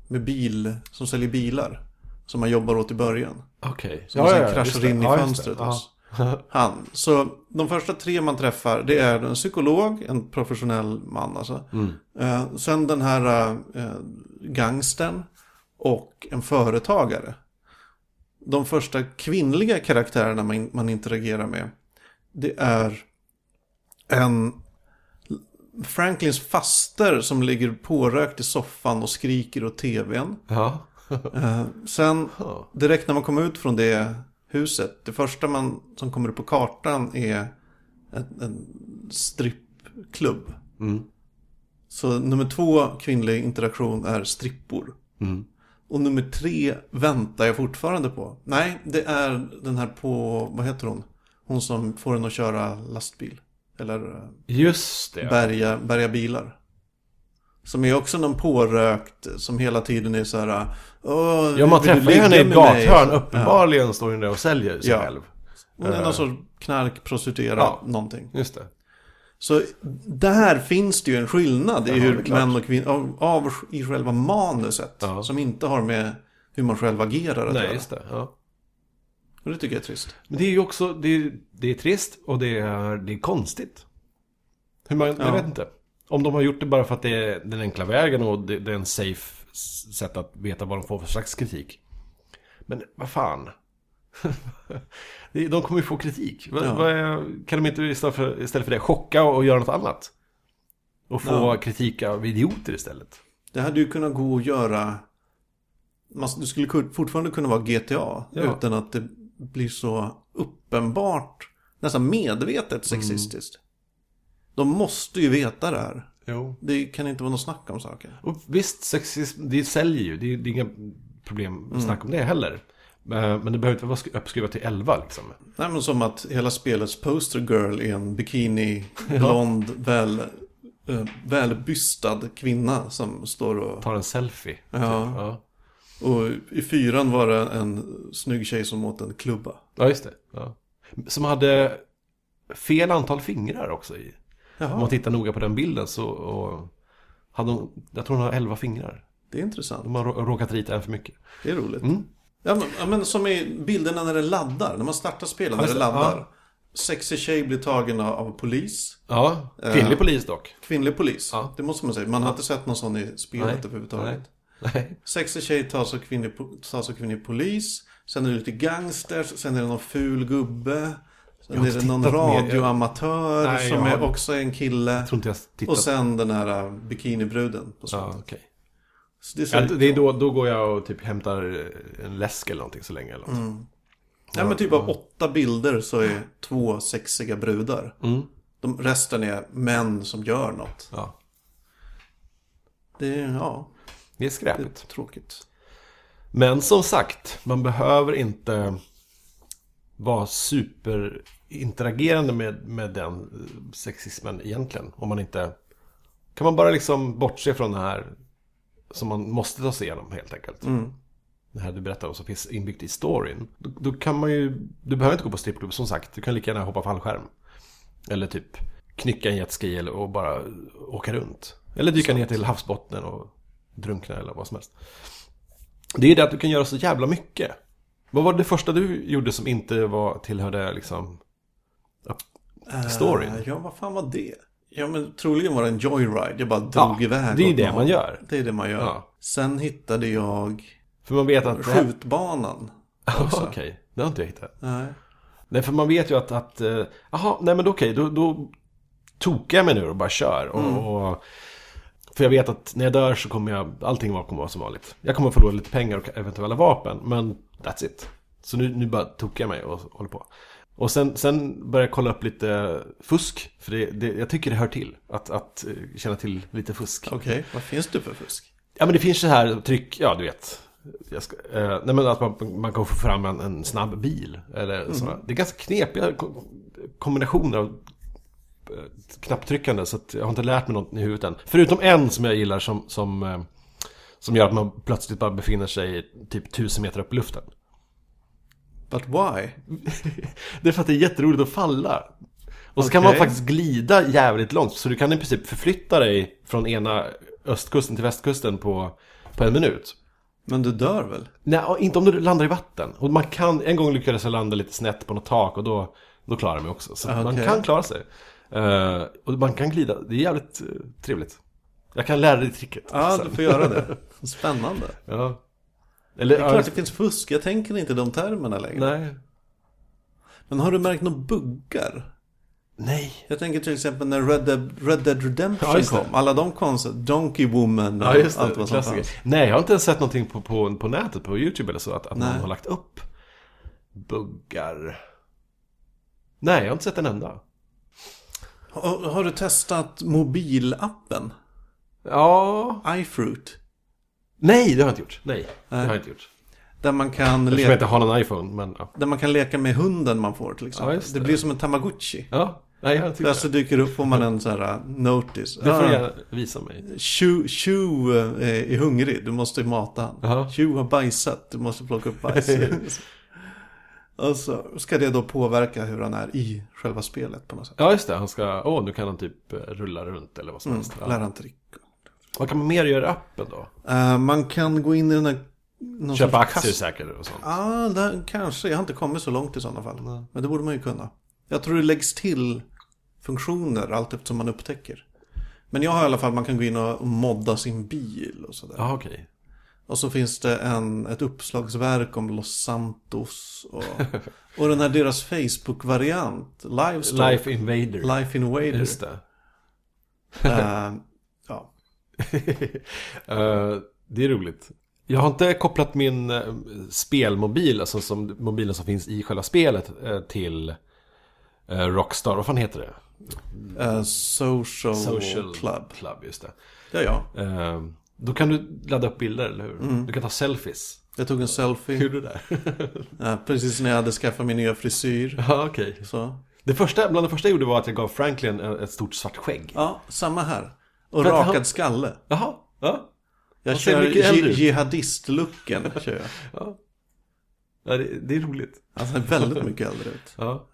A: Med bil, som säljer bilar. Som man jobbar åt i början.
B: Okej. Okay.
A: Som sen kraschar in i fönstret hos. Han. Så de första tre man träffar, det är en psykolog, en professionell man alltså. Eh, sen den här eh, gangstern och en företagare. De första kvinnliga karaktärerna man, man interagerar med, det är en Franklins faster som ligger pårökt i soffan och skriker åt tvn.
B: Ja.
A: Eh, Sen
B: Ja.
A: direkt när man kommer ut från det huset, det första man, som kommer upp på kartan är en, en strippklubb.
B: Mm.
A: Så nummer två kvinnlig interaktion är strippor.
B: Mm.
A: Och nummer tre väntar jag fortfarande på. Nej, det är den här på, vad heter hon? Hon som får en att köra lastbil. Eller eh,
B: Just det.
A: bärga, bärga bilar. Som är också någon pårökt som hela tiden är så här... Åh,
B: Ja, man
A: vill du
B: träffar ju henne i ett
A: ligga med mig?
B: gathörn. Uppenbarligen står hon där och säljer sig
A: Ja.
B: själv.
A: Hon är någon sorts knarkprostituerad
B: Ja.
A: någonting.
B: Just det.
A: Så där finns det ju en skillnad i
B: Ja, det
A: hur
B: är klart.
A: män och kvinnor, av, av i själva manuset.
B: Ja.
A: Som inte har med hur man själv agerar att
B: Nej,
A: göra.
B: just det. Ja.
A: Och det tycker jag är trist.
B: Men det är ju också, det är, det är trist och det är, det är konstigt. Hur man,
A: Ja.
B: jag vet inte. Om de har gjort det bara för att det är den enkla vägen och det, det är en safe s- sätt att veta vad de får för slags kritik. Men vad fan. [laughs] Det- de kommer ju få kritik. Vad-
A: Ja.
B: vad är- kan de inte istället för, istället för det chocka och, och göra något annat? Och få
A: Ja.
B: kritik av idioter istället.
A: Det hade ju kunnat gå att göra... Man, det skulle ku- fortfarande kunna vara GTA.
B: Ja.
A: Utan att det blir så uppenbart, nästan medvetet sexistiskt. De måste ju veta det här.
B: Jo.
A: Det kan inte vara något snack om saken.
B: Och visst, sexism, det säljer ju. Det är, det är inga problem
A: Mm.
B: snack om det heller. Eh, Men det behöver inte vara sk- uppskruvat till 11 liksom.
A: Nej men som att hela spelets poster girl är en [laughs] bikini, blond, väl, eh, välbystad kvinna som står och...
B: Tar en selfie. typ.
A: Ja.
B: ja.
A: Och i fyran var det en snygg tjej som åt en klubba.
B: Ja, just det. Ja. Som hade fel antal fingrar också i. Om man
A: Jaha,
B: tittar noga på den bilden så och, hade hon, jag tror hon har 11 fingrar.
A: det är intressant.
B: De har rå- råkat rita en för mycket.
A: Det är roligt.
B: Mm.
A: Ja, men, ja, men som i bilderna när det laddar, när man startar spelet när
B: just
A: det
B: det.
A: laddar.
B: Ja.
A: Sexig tjej blir tagen av, av polis.
B: Ja, kvinnlig polis dock.
A: Kvinnlig polis,
B: Ja.
A: det måste man säga. Man har inte sett någon sån i spelet överhuvudtaget.
B: Nej.
A: Sexig tjej tas av kvinnlig, po- tas av kvinnlig polis. Sen är det lite gangsters. Sen är det någon ful gubbe.
B: Jag
A: Sen
B: har
A: är det
B: inte
A: någon
B: tittat mer.
A: radioamatör
B: Nej,
A: som
B: jag
A: är
B: har-
A: också är en kille.
B: Jag tror inte jag tittat.
A: Och sen den här äh, bikinibruden på
B: ja,
A: slutet.
B: okej.
A: Så det är, så
B: Ja, det är då, då går jag och typ hämtar en läsk eller någonting så länge. Eller något.
A: Mm. Nej, men typ av åtta bilder så är två sexiga brudar.
B: Mm.
A: De, resten är män som gör något.
B: Ja.
A: Det är, ja,
B: Det är
A: det är
B: skräpigt.
A: tråkigt.
B: Men som sagt, man behöver inte vara superinteragerande med, med den eh, sexismen egentligen. Om man inte... Kan man bara liksom bortse från det här som man måste ta sig igenom helt enkelt. Det här du berättar om som finns inbyggt i storyn. Då, då kan man ju... Du behöver inte gå på strippklubb som sagt. Du kan lika gärna hoppa fallskärm. Eller typ knycka en jetski eller- och bara åka runt. Eller dyka ner till havsbotten och drunkna eller vad som helst. Det är det att du kan göra så jävla mycket. Vad var det första du gjorde som inte var, tillhörde liksom... upp- Storyn?
A: Äh, ja, vad fan var det? Ja, men troligen var det en joyride. Jag bara drog
B: Ja,
A: iväg.
B: det är
A: åt
B: det
A: något
B: man
A: håll.
B: gör.
A: Det är det man gör.
B: Ja.
A: Sen hittade jag
B: För man vet att... det [laughs] här-
A: skjutbanan.
B: Okej, det har inte jag hittat.
A: Nej.
B: Nej, för man vet ju att... att eh, Jaha, nej men då okej, då, då tokar jag mig nu och bara kör. Och, och, för jag vet att när jag dör så kommer jag, allting kommer att vara som vanligt. Jag kommer att förlora lite pengar och eventuella vapen, men that's it. Så nu, nu bara tokar jag mig och håller på. Och sen, sen börjar jag kolla upp lite fusk, för det, det, jag tycker det hör till. Att, att eh, känna till lite fusk.
A: Okej, vad finns det för fusk?
B: Ja men det finns så här tryck, ja du vet. Jag ska, eh, nej men att man, man kan få fram en, en snabb bil. Eller sådana. Det är ganska knepiga ko- kombinationer av eh, knapptryckande. Så att jag har inte lärt mig något i huvudet än. Förutom en som jag gillar som, som, eh, som gör att man plötsligt bara befinner sig typ tusen meter upp i luften.
A: But why?
B: det är för att det är jätteroligt att falla. Och så kan man
A: Okej.
B: faktiskt glida jävligt långt. Så du kan i princip förflytta dig från ena östkusten till västkusten på, på en minut.
A: Men du dör väl?
B: Nej, och inte om du landar i vatten. Och man kan, en gång lyckades jag landa lite snett på något tak och då, då klarar jag mig också. Så man
A: okej.
B: kan klara sig. Eh, och man kan glida, det är jävligt eh, trevligt. Jag kan lära dig tricket.
A: Ja,
B: sen.
A: du får göra det. Spännande.
B: [laughs] Ja. Eller,
A: Det är klart det finns fusk, jag tänker inte i de termerna längre.
B: nej.
A: Men har du märkt några buggar?
B: Nej.
A: Jag tänker till exempel när Red Dead, Red Dead
B: Ja,
A: Redemption
B: just det.
A: kom. Alla de konstiga, Donkey Woman och
B: Ja, just
A: allt
B: det.
A: vad som
B: Klassiker.
A: fanns.
B: Nej, jag har inte ens sett någonting på, på, på nätet, på YouTube eller så, att, att någon
A: Nej.
B: har lagt upp buggar. Nej, jag har inte sett en enda.
A: Har, har du testat mobilappen?
B: Ja.
A: iFruit?
B: Nej, det har jag inte gjort. Nej, det har jag inte gjort.
A: Där man, kan
B: Eftersom jag
A: leka,
B: inte har någon iPhone, men ja.
A: där man kan leka med hunden man får till exempel.
B: Ja, just
A: det.
B: det.
A: blir som en tamagotchi.
B: Ja, Nej, jag tycker
A: Alltså dyker upp får man en sån här uh, notice.
B: det. Det får du
A: Ah,
B: gärna visa mig.
A: Tju, tju eh, är hungrig, du måste mata han.
B: Jaha.
A: Tju har bajsat, du måste plocka upp bajs.
B: [laughs]
A: Och så ska det då påverka hur han är i själva spelet på något sätt.
B: Ja, just det. Han ska... Åh, nu kan han typ eh, rulla runt eller vad som helst. Ja.
A: Lär han trick.
B: Vad kan man mer göra i appen då?
A: Eh, man kan gå in i den här... någon
B: Köpa
A: sorts
B: aktier
A: kast-
B: säkert och sånt.
A: Ja, där, kanske. Jag har inte kommit så långt i sådana fall.
B: Nej.
A: Men det borde man ju kunna. Jag tror det läggs till funktioner allt eftersom man upptäcker. Men jag har i alla fall, man kan gå in och modda sin bil och sådär.
B: Jaha, okej.
A: Och så finns det en, ett uppslagsverk om Los Santos och, [laughs] och den här deras Facebook-variant, Livestock, Life,
B: Life Invader.
A: in Wader.
B: [laughs] Just det.
A: Eh, ja.
B: Eh, det är roligt. Jag har inte kopplat min eh, spelmobil, alltså som, mobilen som finns i själva spelet, eh, till eh, Rockstar. Vad fan heter det?
A: Eh, social, Club.
B: Oh, Club, just det.
A: Ja, ja.
B: Eh, då kan du ladda upp bilder, eller hur? Du kan ta selfies. [laughs]
A: Jag tog en selfie [laughs]
B: Gjorde du det?
A: eh, precis när jag hade skaffat min nya frisyr.
B: ja, okej.
A: Så.
B: Det första, bland det första jag gjorde var att jag gav Franklin eh, ett stort svart skägg.
A: Ja, samma här. Och
B: För att han-
A: rakad skalle.
B: Jaha, ja.
A: Jag
B: Han ser
A: kör
B: mycket äldre
A: ji-
B: ut.
A: jihadist-looken. kör [laughs] jag.
B: ja det, det är roligt.
A: Han ser väldigt mycket äldre ut.
B: Ja.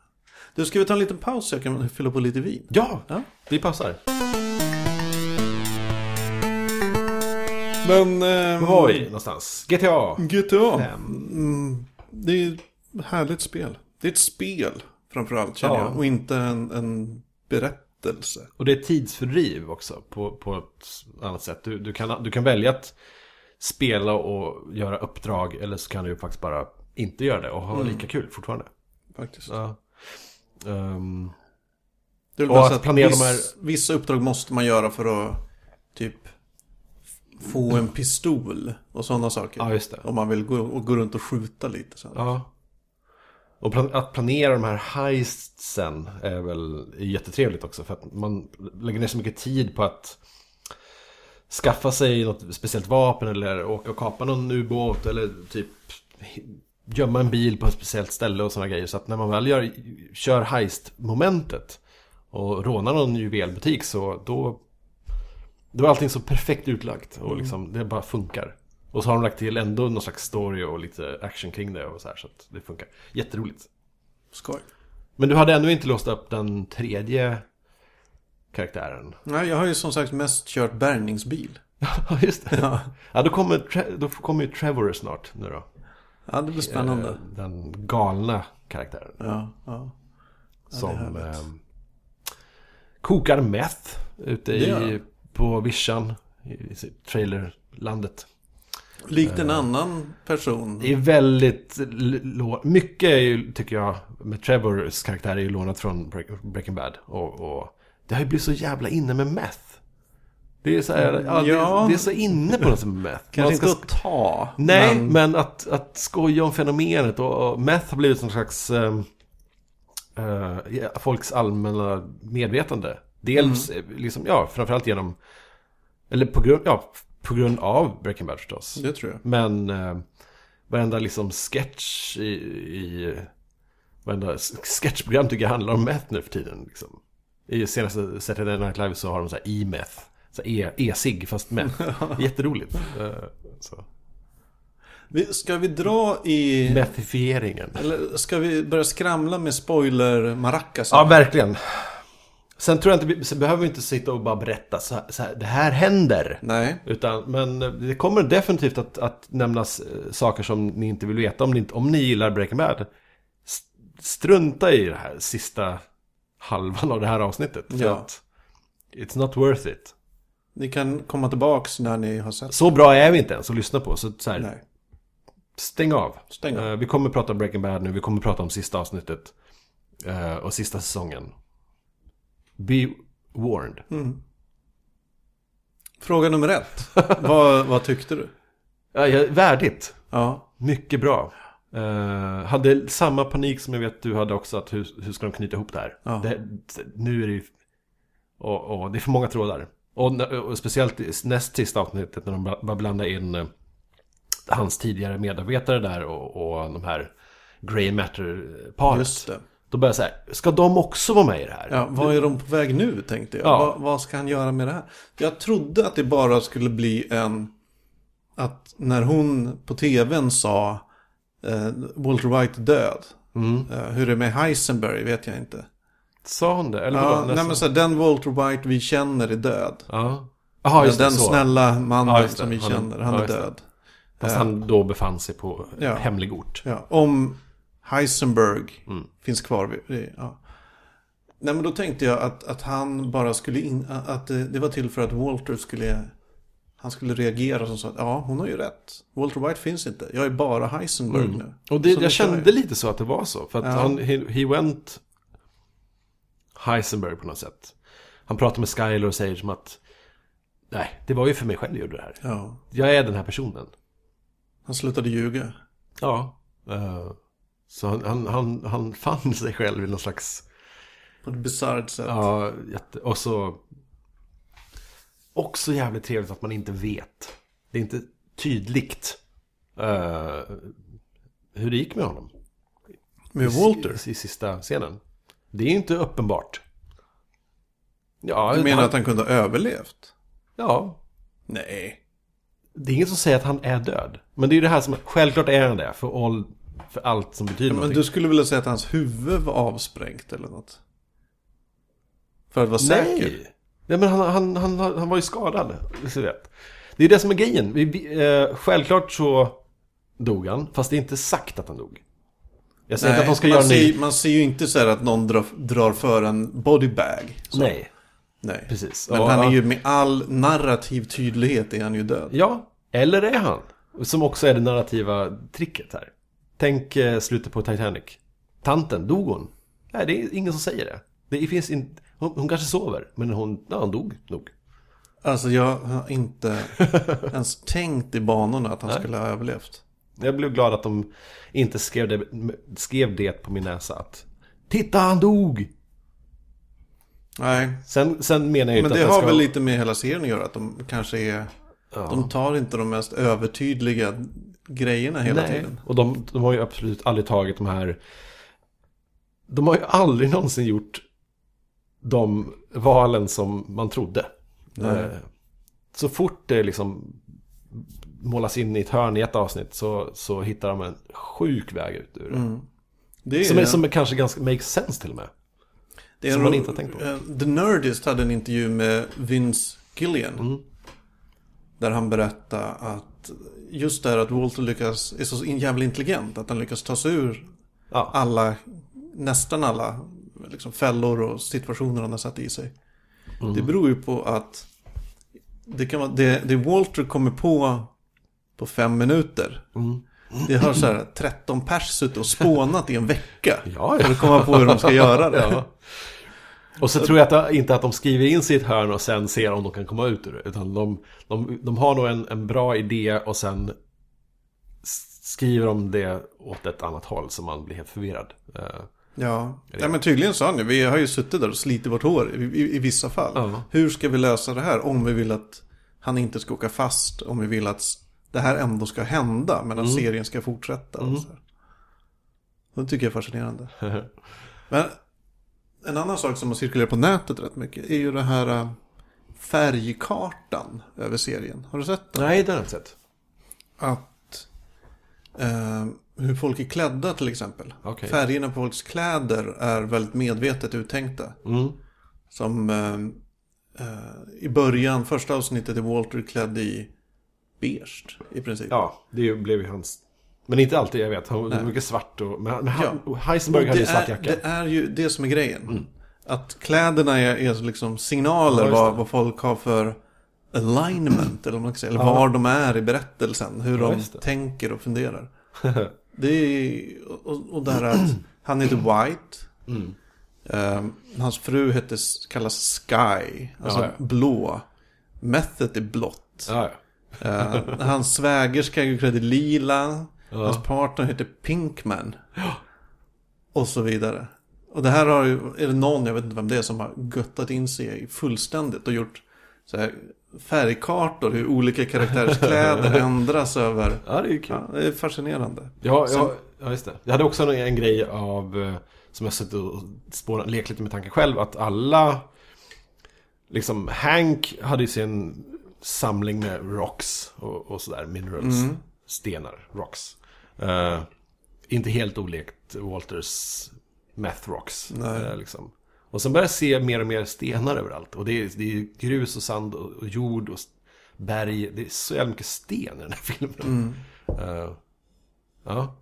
A: Du, ska vi ta en liten paus så jag kan fylla på lite vin?
B: Ja,
A: Ja.
B: vi passar.
A: Men... Eh,
B: Var var vi någonstans? GTA?
A: GTA. Mm, det är ett härligt spel. Det är ett spel framförallt känner
B: Ja.
A: jag. Och inte en, en berättelse.
B: Och det är tidsfördriv också på, på ett annat sätt. Du, du, kan, du kan välja att spela och göra uppdrag eller så kan du faktiskt bara inte göra det och ha lika kul fortfarande.
A: Faktiskt.
B: Mm. Ja. Ehm,
A: Det är väl
B: Och
A: bara
B: att
A: så att
B: planera de
A: viss,
B: här-
A: Vissa uppdrag måste man göra för att typ få en pistol och sådana saker.
B: ja, just det.
A: Om man vill gå, och gå runt och skjuta lite sen.
B: Ja. Och plan- att planera de här heistsen är väl är jättetrevligt också. För att man lägger ner så mycket tid på att skaffa sig något speciellt vapen eller åka och kapa någon ubåt eller typ gömma en bil på ett speciellt ställe och sådana grejer. Så att när man väl gör, kör heist-momentet och rånar någon juvelbutik så då, då är allting så perfekt utlagt
A: Mm.
B: och liksom, det bara funkar. Och så har de lagt till ändå någon slags story och lite action kring det och så här så att det funkar. Jätteroligt.
A: Skoj.
B: Men du hade ännu inte låst upp den tredje
A: [laughs]
B: karaktären.
A: Nej, jag har ju som sagt mest kört bärgningsbil.
B: Ja, just det. [laughs] Ja. då, kommer Tre- då kommer ju Trevor snart nu då.
A: Ja, det blir spännande.
B: Eh, Den galna karaktären.
A: Ja, ja.
B: som eh, kokar meth ute
A: Det gör
B: i,
A: han.
B: på vischan. I, i trailerlandet.
A: Likt en
B: Eh.
A: annan person.
B: Det är väldigt... l- lå- Mycket är ju, tycker jag med Trevors karaktär är ju lånat från Break- Breaking Bad. Och, och det har ju blivit så jävla inne med meth. Det är så, här, ja,
A: Mm, Ja.
B: det, det är så inne på något sätt med meth.
A: [laughs]
B: Man
A: Kanske
B: ska
A: inte att ta.
B: Nej, men,
A: Men,
B: att, att skoja om fenomenet och, och meth har blivit någon slags ehm, eh, ja, folks allmänna medvetande. Dels
A: Mm.
B: eh, liksom, ja, framförallt genom, eller på grund, ja, på grund av Breaking Bad förstås.
A: det tror jag.
B: Men eh, varenda liksom sketch i, i varenda s- sketchprogram tycker jag handlar om meth nu för tiden. Liksom. I senaste Saturday Night Live så har de så här e-meth. Så här e- E-cigg fast meth. Jätteroligt. Eh, så.
A: Vi- Ska vi dra i...
B: Methifieringen.
A: Eller ska vi börja skramla med spoiler-maracas?
B: Ja, verkligen. Sen tror jag inte, vi- sen behöver vi inte sitta och bara berätta så här, så här det här händer.
A: Nej.
B: Utan, men det kommer definitivt att, att nämnas eh, saker som ni inte vill veta om ni, inte, om ni gillar Breaking Bad. s- Strunta i det här sista halvan av det här avsnittet. För
A: Ja.
B: att it's not worth it.
A: Ni kan komma tillbaks när ni har sett.
B: Så bra är vi inte ens att lyssna på. Så, så här,
A: Nej.
B: Stäng av.
A: Stäng av.
B: Eh, vi kommer prata om Breaking Bad nu. Vi kommer prata om sista avsnittet. eh, och sista säsongen. Be warned.
A: Mm. Fråga nummer
B: [laughs]
A: ett. vad, vad tyckte du?
B: Ja, ja, värdigt.
A: Ja.
B: Mycket bra. Eh, hade samma panik som jag vet du hade också. Att hur, hur ska de knyta ihop det här?
A: Ja.
B: Det, nu är det ju... Och, och, det är för många trådar. Och, när- och speciellt i näst sista avsnittet när de bara bara blandar in eh, hans tidigare medarbetare där och, och de här Grey Matter-paret.
A: Just det.
B: Då börjar jag så här, ska de också vara med i det här?
A: Ja, vad är de på väg nu tänkte jag.
B: Ja.
A: Vad, vad ska han göra med det här? Jag trodde att det bara skulle bli en... Att när hon på tvn sa eh, Walter White är död.
B: Mm.
A: Eh, hur det är med Heisenberg vet jag inte.
B: Sa hon det? Eller vadå?
A: Ja, nej,
B: Nästan.
A: men så här, den Walter White vi känner är död.
B: Ja. Aha, just det,
A: den
B: så.
A: snälla mannen
B: Ja, just det.
A: som vi
B: Han-
A: känner, han
B: ja,
A: är
B: just det.
A: död.
B: Fast han då befann sig på
A: Ja.
B: hemlig ort.
A: Ja, om Heisenberg
B: Mm.
A: finns kvar. Vid, ja. Nej, men då tänkte jag att, att han bara skulle in, att det, det var till för att Walter skulle, han skulle reagera som så att ja, hon har ju rätt. Walter White finns inte, jag är bara Heisenberg nu.
B: Mm. Och det,
A: Så
B: jag
A: kör
B: kände lite så att det var så. För att
A: Ja.
B: han, he, he went Heisenberg på något sätt. Han pratar med Skyler och säger som att Nej, det var ju för mig själv jag gjorde det här.
A: Ja,
B: Jag är den här personen.
A: han slutade ljuga.
B: Ja. eh, så han, han, han, han fann [laughs] sig själv i någon slags...
A: På ett bisarrt sätt.
B: Ja, jätte... Och så... Också jävligt trevligt att man inte vet. Det är inte tydligt eh, hur det gick med honom.
A: Med
B: I,
A: Walter.
B: I sista scenen. Det är ju inte uppenbart. Ja,
A: Du menar
B: han-
A: att han kunde ha överlevt?
B: Ja.
A: Nej.
B: Det är ingen som säger att han är död. Men det är ju det här som... Självklart är han det. För, all, för allt som betyder
A: Men
B: någonting.
A: du skulle vilja säga att hans huvud var avsprängt eller något? För att vara säker?
B: Nej. Nej, men han, han, han, han var ju skadad. Så vet. Det är det som är grejen. Vi, vi, eh, självklart så dog han, fast det är inte sagt att han dog. Jag säger inte att de ska
A: man,
B: göra en
A: ser,
B: ny...
A: man ser ju inte så här att någon drar, drar för en bodybag. Så,
B: Nej,
A: nej.
B: precis.
A: Men
B: Ja,
A: han är
B: ja.
A: ju med all narrativ tydlighet är han ju död.
B: Ja, eller är han? Som också är det narrativa tricket här. Tänk eh, slutet på Titanic. Tanten, dog hon? Nej, det är ingen som säger det. Det finns inte... Hon, hon kanske sover, men hon, ja, hon dog nog.
A: Alltså jag har
B: [laughs]
A: inte ens tänkt i banorna att han skulle ha överlevt.
B: Jag blev glad att de inte skrev det, skrev det på min näsa att Titta han dog!
A: Nej.
B: Sen, sen menar jag ju
A: Men
B: inte
A: det
B: att
A: har
B: den ska...
A: väl lite med hela serien att göra. Att de kanske är... De tar inte de mest övertydliga grejerna hela
B: Nej.
A: tiden.
B: Och de, de har ju absolut aldrig tagit de här... De har ju aldrig någonsin gjort de valen som man trodde. Eh, Så fort det liksom målas in i ett hörn i ett avsnitt så, så hittar de en sjuk väg ut ur det.
A: Det är,
B: Som, är, som är kanske ganska makes sense till och med.
A: det är
B: som
A: en
B: man
A: ro-
B: inte har tänkt på.
A: eh, The Nerdist hade en intervju med Vince Gillian.
B: Mm.
A: Där han berättade att just det här att Walter lyckas, är så in- jävla intelligent att han lyckas ta sig ur
B: Ja.
A: alla, nästan alla liksom fällor och situationer han har satt i sig.
B: Mm.
A: Det beror ju på att det, kan vara, det, det Walter kommer på på fem minuter.
B: Mm.
A: Det har så här 13 pers suttit och spånat i en vecka.
B: [laughs] Ja, ja.
A: För att komma på hur de ska göra det.
B: Ja. Och så tror jag att, inte att de skriver in sig i ett hörn och sen ser om de kan komma ut ur det. Utan de, de, de har nog en, en bra idé och sen s- skriver de det åt ett annat håll så man blir helt förvirrad. Eh,
A: Ja. ja, men tydligen sa han ju, vi har ju suttit där och slitit vårt hår i, i, i vissa fall.
B: Ja.
A: Hur ska vi lösa det här om vi vill att han inte ska åka fast, om vi vill att s- det här ändå ska hända, men att serien ska fortsätta. och så här. Det tycker jag är fascinerande. men en annan sak som har cirkulerat på nätet rätt mycket är ju den här äh, färgkartan över serien. Har du sett den?
B: Nej, det har jag inte sett.
A: att eh, hur folk är klädda till exempel.
B: Okej.
A: Färgerna på folks kläder är väldigt medvetet uttänkta.
B: Mm.
A: Som eh, eh, i början, första avsnittet är Walter klädd i beige i princip.
B: Ja, det blev ju hans... Men inte alltid, jag vet. Han var mycket svart och... Men, men han, Heisenberg hade ju
A: Det
B: svart
A: är,
B: jacka.
A: det är ju det som är grejen. Att kläderna är, är liksom signaler
B: Ja, just
A: vad, vad folk har för alignment, eller, vad man ska säga, eller var de är i berättelsen. Hur de
B: just det.
A: tänker och funderar.
B: [laughs]
A: Det är, och, och där att han heter White.
B: Mm.
A: Ehm, hans fru heter, kallas Sky, alltså
B: Ja, ja.
A: blå. Method är blått.
B: Ja, ja.
A: Eh, hans svägerska är ju klädd i lila. Hans partner heter Pinkman. Och så vidare. Och det här har ju, är det någon, jag vet inte vem det är, som har göttat in sig i fullständigt och gjort så här färgkartor hur olika
B: [laughs]
A: karaktärers kläder ändras över.
B: ja, det är ju kul.
A: Ja, det är fascinerande.
B: Ja, ja, ja, just det. Jag hade också en, en grej av eh, Som jag suttit och spårat, lekt lite med tanken själv. Att alla... Liksom Hank hade ju sin samling med rocks och, och sådär. Minerals. Stenar. Rocks. Eh, inte helt olikt Walters Meth Rocks. eh, liksom. Och sen börjar jag se mer och mer stenar överallt. Och det är, det är grus och sand och, och jord och s- berg. Det är så jävla mycket sten i den här filmen. Eh, ja.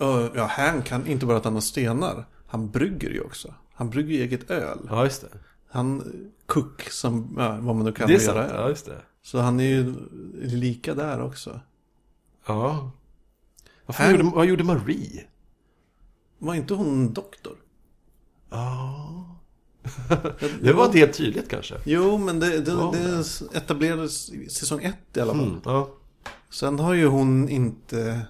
A: Ö, Ja, han kan inte bara att han har stenar. Han brygger ju också. Han brygger ju eget öl.
B: ja, just det.
A: Han kuck som, ja, vad man nu kan
B: Det är sant.
A: göra. öl.
B: Ja, just det.
A: Så han är ju lika där också.
B: Ja. Vad, fan
A: Här-
B: gjorde, vad gjorde Marie?
A: Var inte hon doktor?
B: Det var inte helt tydligt kanske.
A: Jo, men det, det,
B: Var
A: det etablerades i säsong ett i alla fall.
B: Mm, ja.
A: Sen har ju hon inte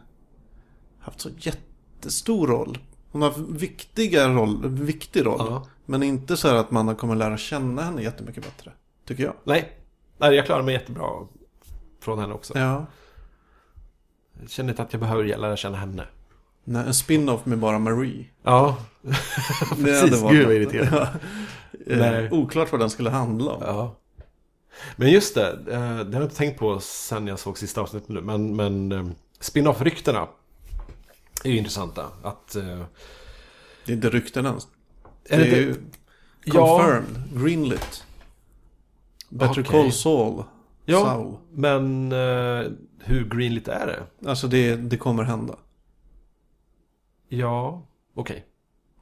A: haft så jättestor roll. Hon har haft viktiga roll, viktig roll.
B: Ja.
A: Men inte så här att man har kommit lära känna henne jättemycket bättre. Tycker jag.
B: Nej. Nej, jag klarade mig jättebra från henne också.
A: Ja.
B: Jag känner inte att jag behöver lära känna henne.
A: Nej, en spin-off med bara
B: [laughs]
A: Marie.
B: Ja,
A: hade
B: precis.
A: varit
B: Gud vad
A: något.
B: irriterande.
A: [laughs] Eh,
B: Nej.
A: Oklart vad den skulle handla om.
B: Ja. Men just det, eh, det har jag inte tänkt på sen jag såg sista avsnittet nu. Men, men eh, spin-off-ryktena är ju intressanta. Att, eh,
A: Det är inte rykten ens.
B: är
A: det,
B: det
A: är ju
B: inte-
A: confirmed, greenlit. Better
B: Okej.
A: Call Saul.
B: Ja,
A: Saul.
B: ja men eh, hur greenlit är det?
A: Alltså det, det kommer hända.
B: Ja, okej.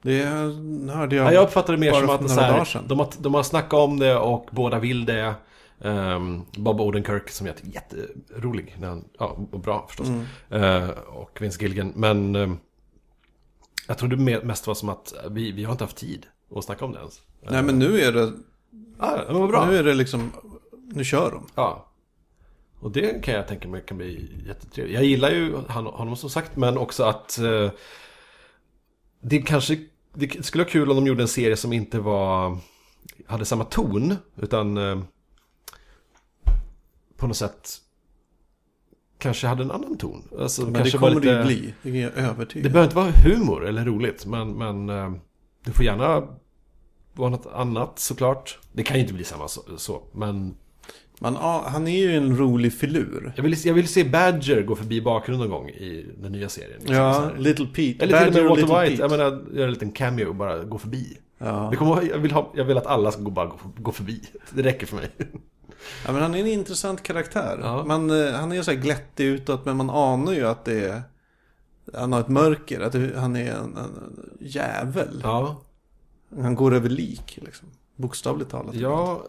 A: Det hörde jag.
B: Ja, jag uppfattar det mer
A: bara
B: som
A: för
B: att så
A: några dagar
B: här,
A: sedan.
B: de, har, de har snackat om det och båda vill det. Ehm, Bob Odenkirk som jag tycker är jätterolig. När han, ja, och bra förstås.
A: Mm.
B: Eh, och Vince Gilligan. Men ehm, jag tror det me- mest var som att vi, vi har inte haft tid att snacka om det ens.
A: Nej men nu är det, Ah,
B: Ja, men vad bra.
A: nu är det liksom, nu kör de.
B: Ja. Och det kan jag tänka mig kan bli jättetrevligt. Jag gillar ju han- honom som sagt, men också att eh, det kanske det skulle vara kul om de gjorde en serie som inte var hade samma ton, utan eh, på något sätt kanske hade en annan ton. Alltså,
A: Men
B: kanske
A: det kommer
B: var lite,
A: det ju bli, det är jag
B: Det
A: övertygad om.
B: behöver inte vara humor eller roligt, men, men eh, det får gärna vara något annat såklart. Det kan ju inte bli samma så, så men
A: Men ja, han är ju en rolig filur.
B: jag vill, jag vill se Badger gå förbi bakgrunden någon gång i den nya serien. Liksom så
A: Ja,
B: här.
A: Little Pete.
B: Eller till och
A: Badger
B: med
A: och
B: Walter
A: Little
B: White. Jag
A: Pete.
B: menar, göra en liten cameo och bara gå förbi.
A: Ja.
B: Det kommer, jag, vill ha, jag vill att alla ska gå, bara gå, gå förbi. Det räcker för mig.
A: ja, men han är en intressant karaktär.
B: Ja.
A: Man, eh, han är ju så här glättig utåt, men man anar ju att det är... Han har ett mörker, att det, han är en, en jävel.
B: Ja,
A: Han går över lik, liksom. Bokstavligt talat.
B: jag...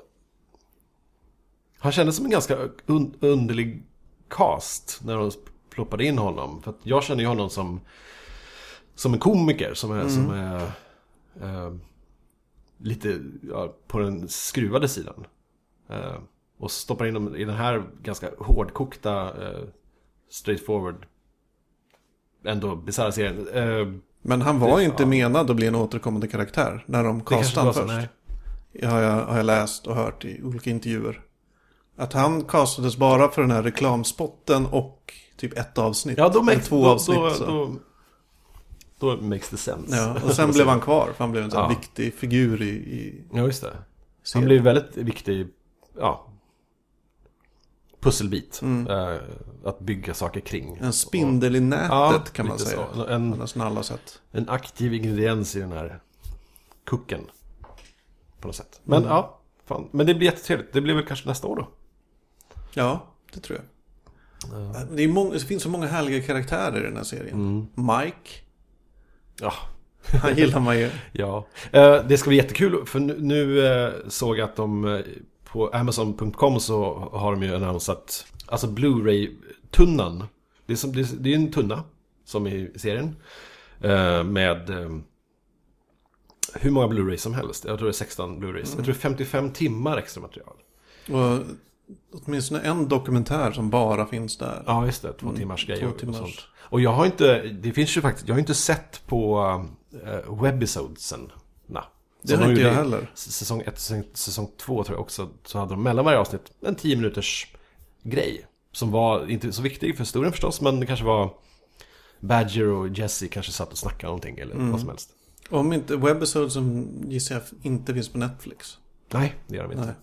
B: Han kändes som en ganska un, underlig cast när de ploppade in honom. För att jag känner ju honom som, som en komiker som är, som är eh, lite ja, på den skruvade sidan. Eh, och stoppar in dem i den här ganska hårdkokta, eh, straightforward, ändå bisarra serien. Eh,
A: Men han var
B: Det-
A: ju inte
B: ja.
A: menad att bli en återkommande karaktär när de
B: det kanske
A: castade han
B: var så,
A: först.
B: nej.
A: har jag, har jag läst och hört i olika intervjuer. Att han castades bara för den här reklamspotten och typ ett avsnitt.
B: Ja, då
A: eller
B: makes,
A: två
B: då,
A: avsnitt.
B: då,
A: så.
B: då, då makes the sense.
A: Ja, och sen blev han kvar, för han blev en sån här
B: Ja.
A: viktig figur i, i
B: Ja, just det. Han
A: serien.
B: blev väldigt viktig, ja, pusselbit. Eh, att bygga saker kring.
A: En spindel i nätet
B: Ja,
A: kan man
B: lite
A: säga.
B: så.
A: På
B: En,
A: nästan alla sätt.
B: en aktiv ingrediens i den här kucken. På något sätt. Men ja, fan. Men det blir jättetrevligt. Det blir väl kanske nästa år då.
A: Ja, det tror jag. Det, är många, det finns så många härliga karaktärer i den här
B: Mm.
A: serien. Mike,
B: Ja.
A: han gillar man ju.
B: ja. Eh, det ska bli jättekul. För nu, nu eh, såg jag att de eh, på Amazon.com så har de ju annonsat Alltså Blu-ray-tunnan. Det är, som, det, är, det är en tunna som i serien. Eh, med eh, hur många Blu-rays som helst. Jag tror det är 16 Blu-rays. Jag tror det är 55 timmar extra material.
A: Och åtminstone en dokumentär som bara finns där.
B: Ja, just det. Mm, Två timmars grejer och
A: timmars.
B: sånt. Och jag har inte, det finns ju faktiskt, jag har inte sett på uh, webisodesen. Nah.
A: Det har inte jag heller.
B: Säsong 1 säsong, säsong 2 tror jag också, så hade de mellan varje avsnitt en 10 minuters grej. Som var inte så viktig för historien
A: Mm.
B: förstås, men det kanske var Badger och Jesse kanske satt och snackade någonting eller vad som helst.
A: Om inte Webisodes som gissar jag inte finns på Netflix.
B: Nej, det gör de inte.
A: Nej.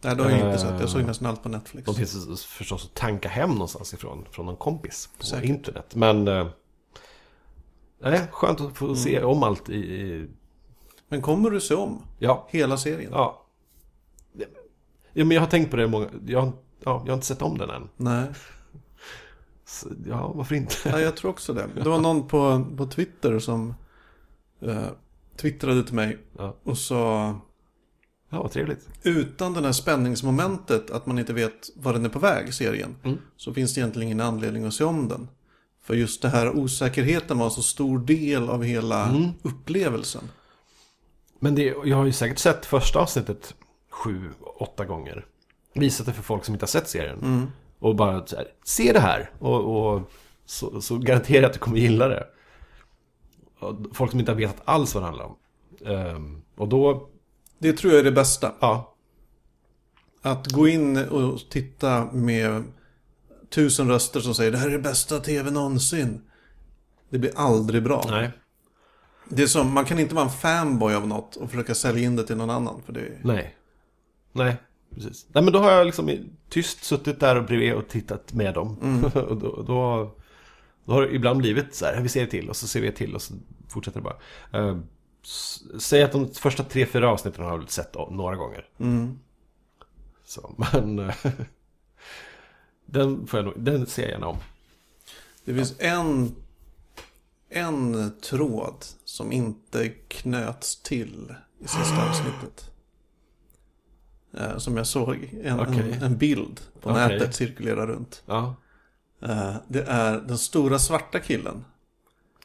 A: Nej, det har jag inte
B: Eh,
A: sett. Jag såg nästan allt på Netflix.
B: De finns förstås att tanka hem någonstans ifrån, från någon kompis på
A: Säkert.
B: internet. Men... eh, Nej, skönt att få
A: Mm.
B: se om allt i... i
A: Men kommer du se om
B: ja,
A: hela serien?
B: ja. Ja, men jag har tänkt på det många... Jag, har- ja, jag har inte sett om den än.
A: Nej.
B: Så, ja, varför inte?
A: [laughs] Nej, jag tror också det. Det var någon på, på Twitter som eh, twittrade till mig
B: Ja,
A: och sa
B: ja vad trevligt.
A: utan det här spänningsmomentet att man inte vet var den är på väg, serien, så finns det egentligen ingen anledning att se om den. För just det här osäkerheten var en så stor del av hela upplevelsen.
B: Men det, jag har ju säkert sett första avsnittet sju, åtta gånger. Visat det för folk som inte har sett serien. Och bara så här, se det här! Och, och så, så garanterar jag att du kommer gilla det. Och Folk som inte har vetat alls vad det handlar om. Ehm, och då,
A: Det tror jag är det bästa.
B: ja,
A: Att gå in och titta med tusen röster som säger det här är det bästa tv någonsin. Det blir aldrig bra.
B: nej,
A: Det är som, man kan inte vara en fanboy av något och försöka sälja in det till någon annan. För det,
B: nej, nej, precis. Nej men då har jag liksom i- tyst suttit där och bredvid och tittat med dem.
A: Mm.
B: [laughs] och då, då, då har det ibland blivit så här, vi ser det till och så ser vi det till och så fortsätter det bara. Eh, s- säg att de första tre, fyra avsnitten har jag väl sett då, några gånger.
A: Mm.
B: Så, [laughs] men eh, den, får jag nog, den ser jag gärna om.
A: det finns en, en tråd som inte knöts till i
B: [gasps]
A: sista avsnittet. Eh, som jag såg. En,
B: Okej.
A: en, en bild på
B: Okej.
A: nätet cirkulera runt.
B: Ja,
A: Eh, det är den stora svarta killen.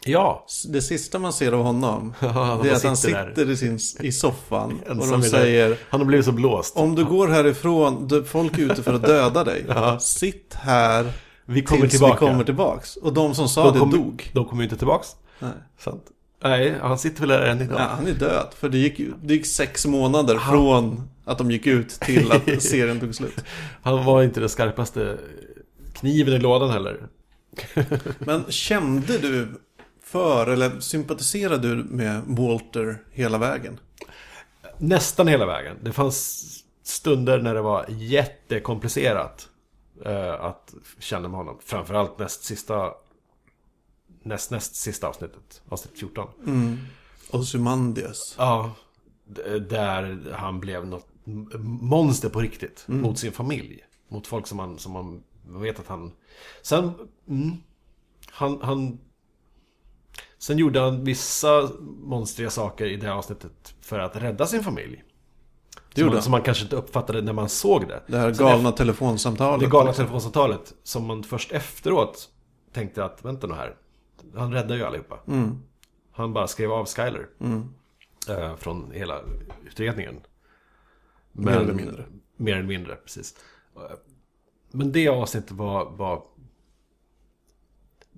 B: ja.
A: Det sista man ser av
B: [laughs]
A: honom det är att han
B: sitter där.
A: sitter i, sin, i soffan och
B: [laughs] Ensam
A: de
B: i det-
A: säger
B: han har blivit så blåst.
A: Om du går härifrån, du, folk är ute för
B: [laughs]
A: att döda dig. Sitt här
B: Vi kommer
A: tills
B: tillbaka.
A: vi kommer tillbaks. Och de som sa det
B: kommer-
A: dog.
B: De kommer ju inte tillbaks.
A: Nej.
B: Sant. Nej, han sitter väl där än idag.
A: Ja, han är död. För det gick, ju- det gick sex månader från att de gick ut till
B: [laughs]
A: att serien tog slut.
B: Han var inte den skarpaste kniven i lådan heller.
A: Men kände du för, eller sympatiserade du med Walter hela vägen?
B: Nästan hela vägen. Det fanns stunder när det var jättekomplicerat eh, att känna med honom. Framförallt näst sista, näst näst sista avsnittet, avsnitt 14.
A: Ozymandias.
B: Ja, d- där han blev något m- monster på riktigt.
A: Mm.
B: Mot sin familj. Mot folk som man, som man vet att han... Sen... Mm, han, han... Sen gjorde han vissa monstriga saker i det här avsnittet för att rädda sin familj.
A: Det
B: Som
A: gjorde
B: man,
A: han.
B: som man kanske inte uppfattade när man såg det.
A: Det här
B: Sen
A: galna
B: det
A: telefonsamtalet.
B: galna telefonsamtalet som man först efteråt tänkte att vänta nu här. Han räddade ju allihopa.
A: Mm.
B: Han bara skrev av Skyler. Eh, från hela utredningen.
A: Mer eller mindre.
B: Mer eller mindre, precis. Eh, Men det avsnittet var... var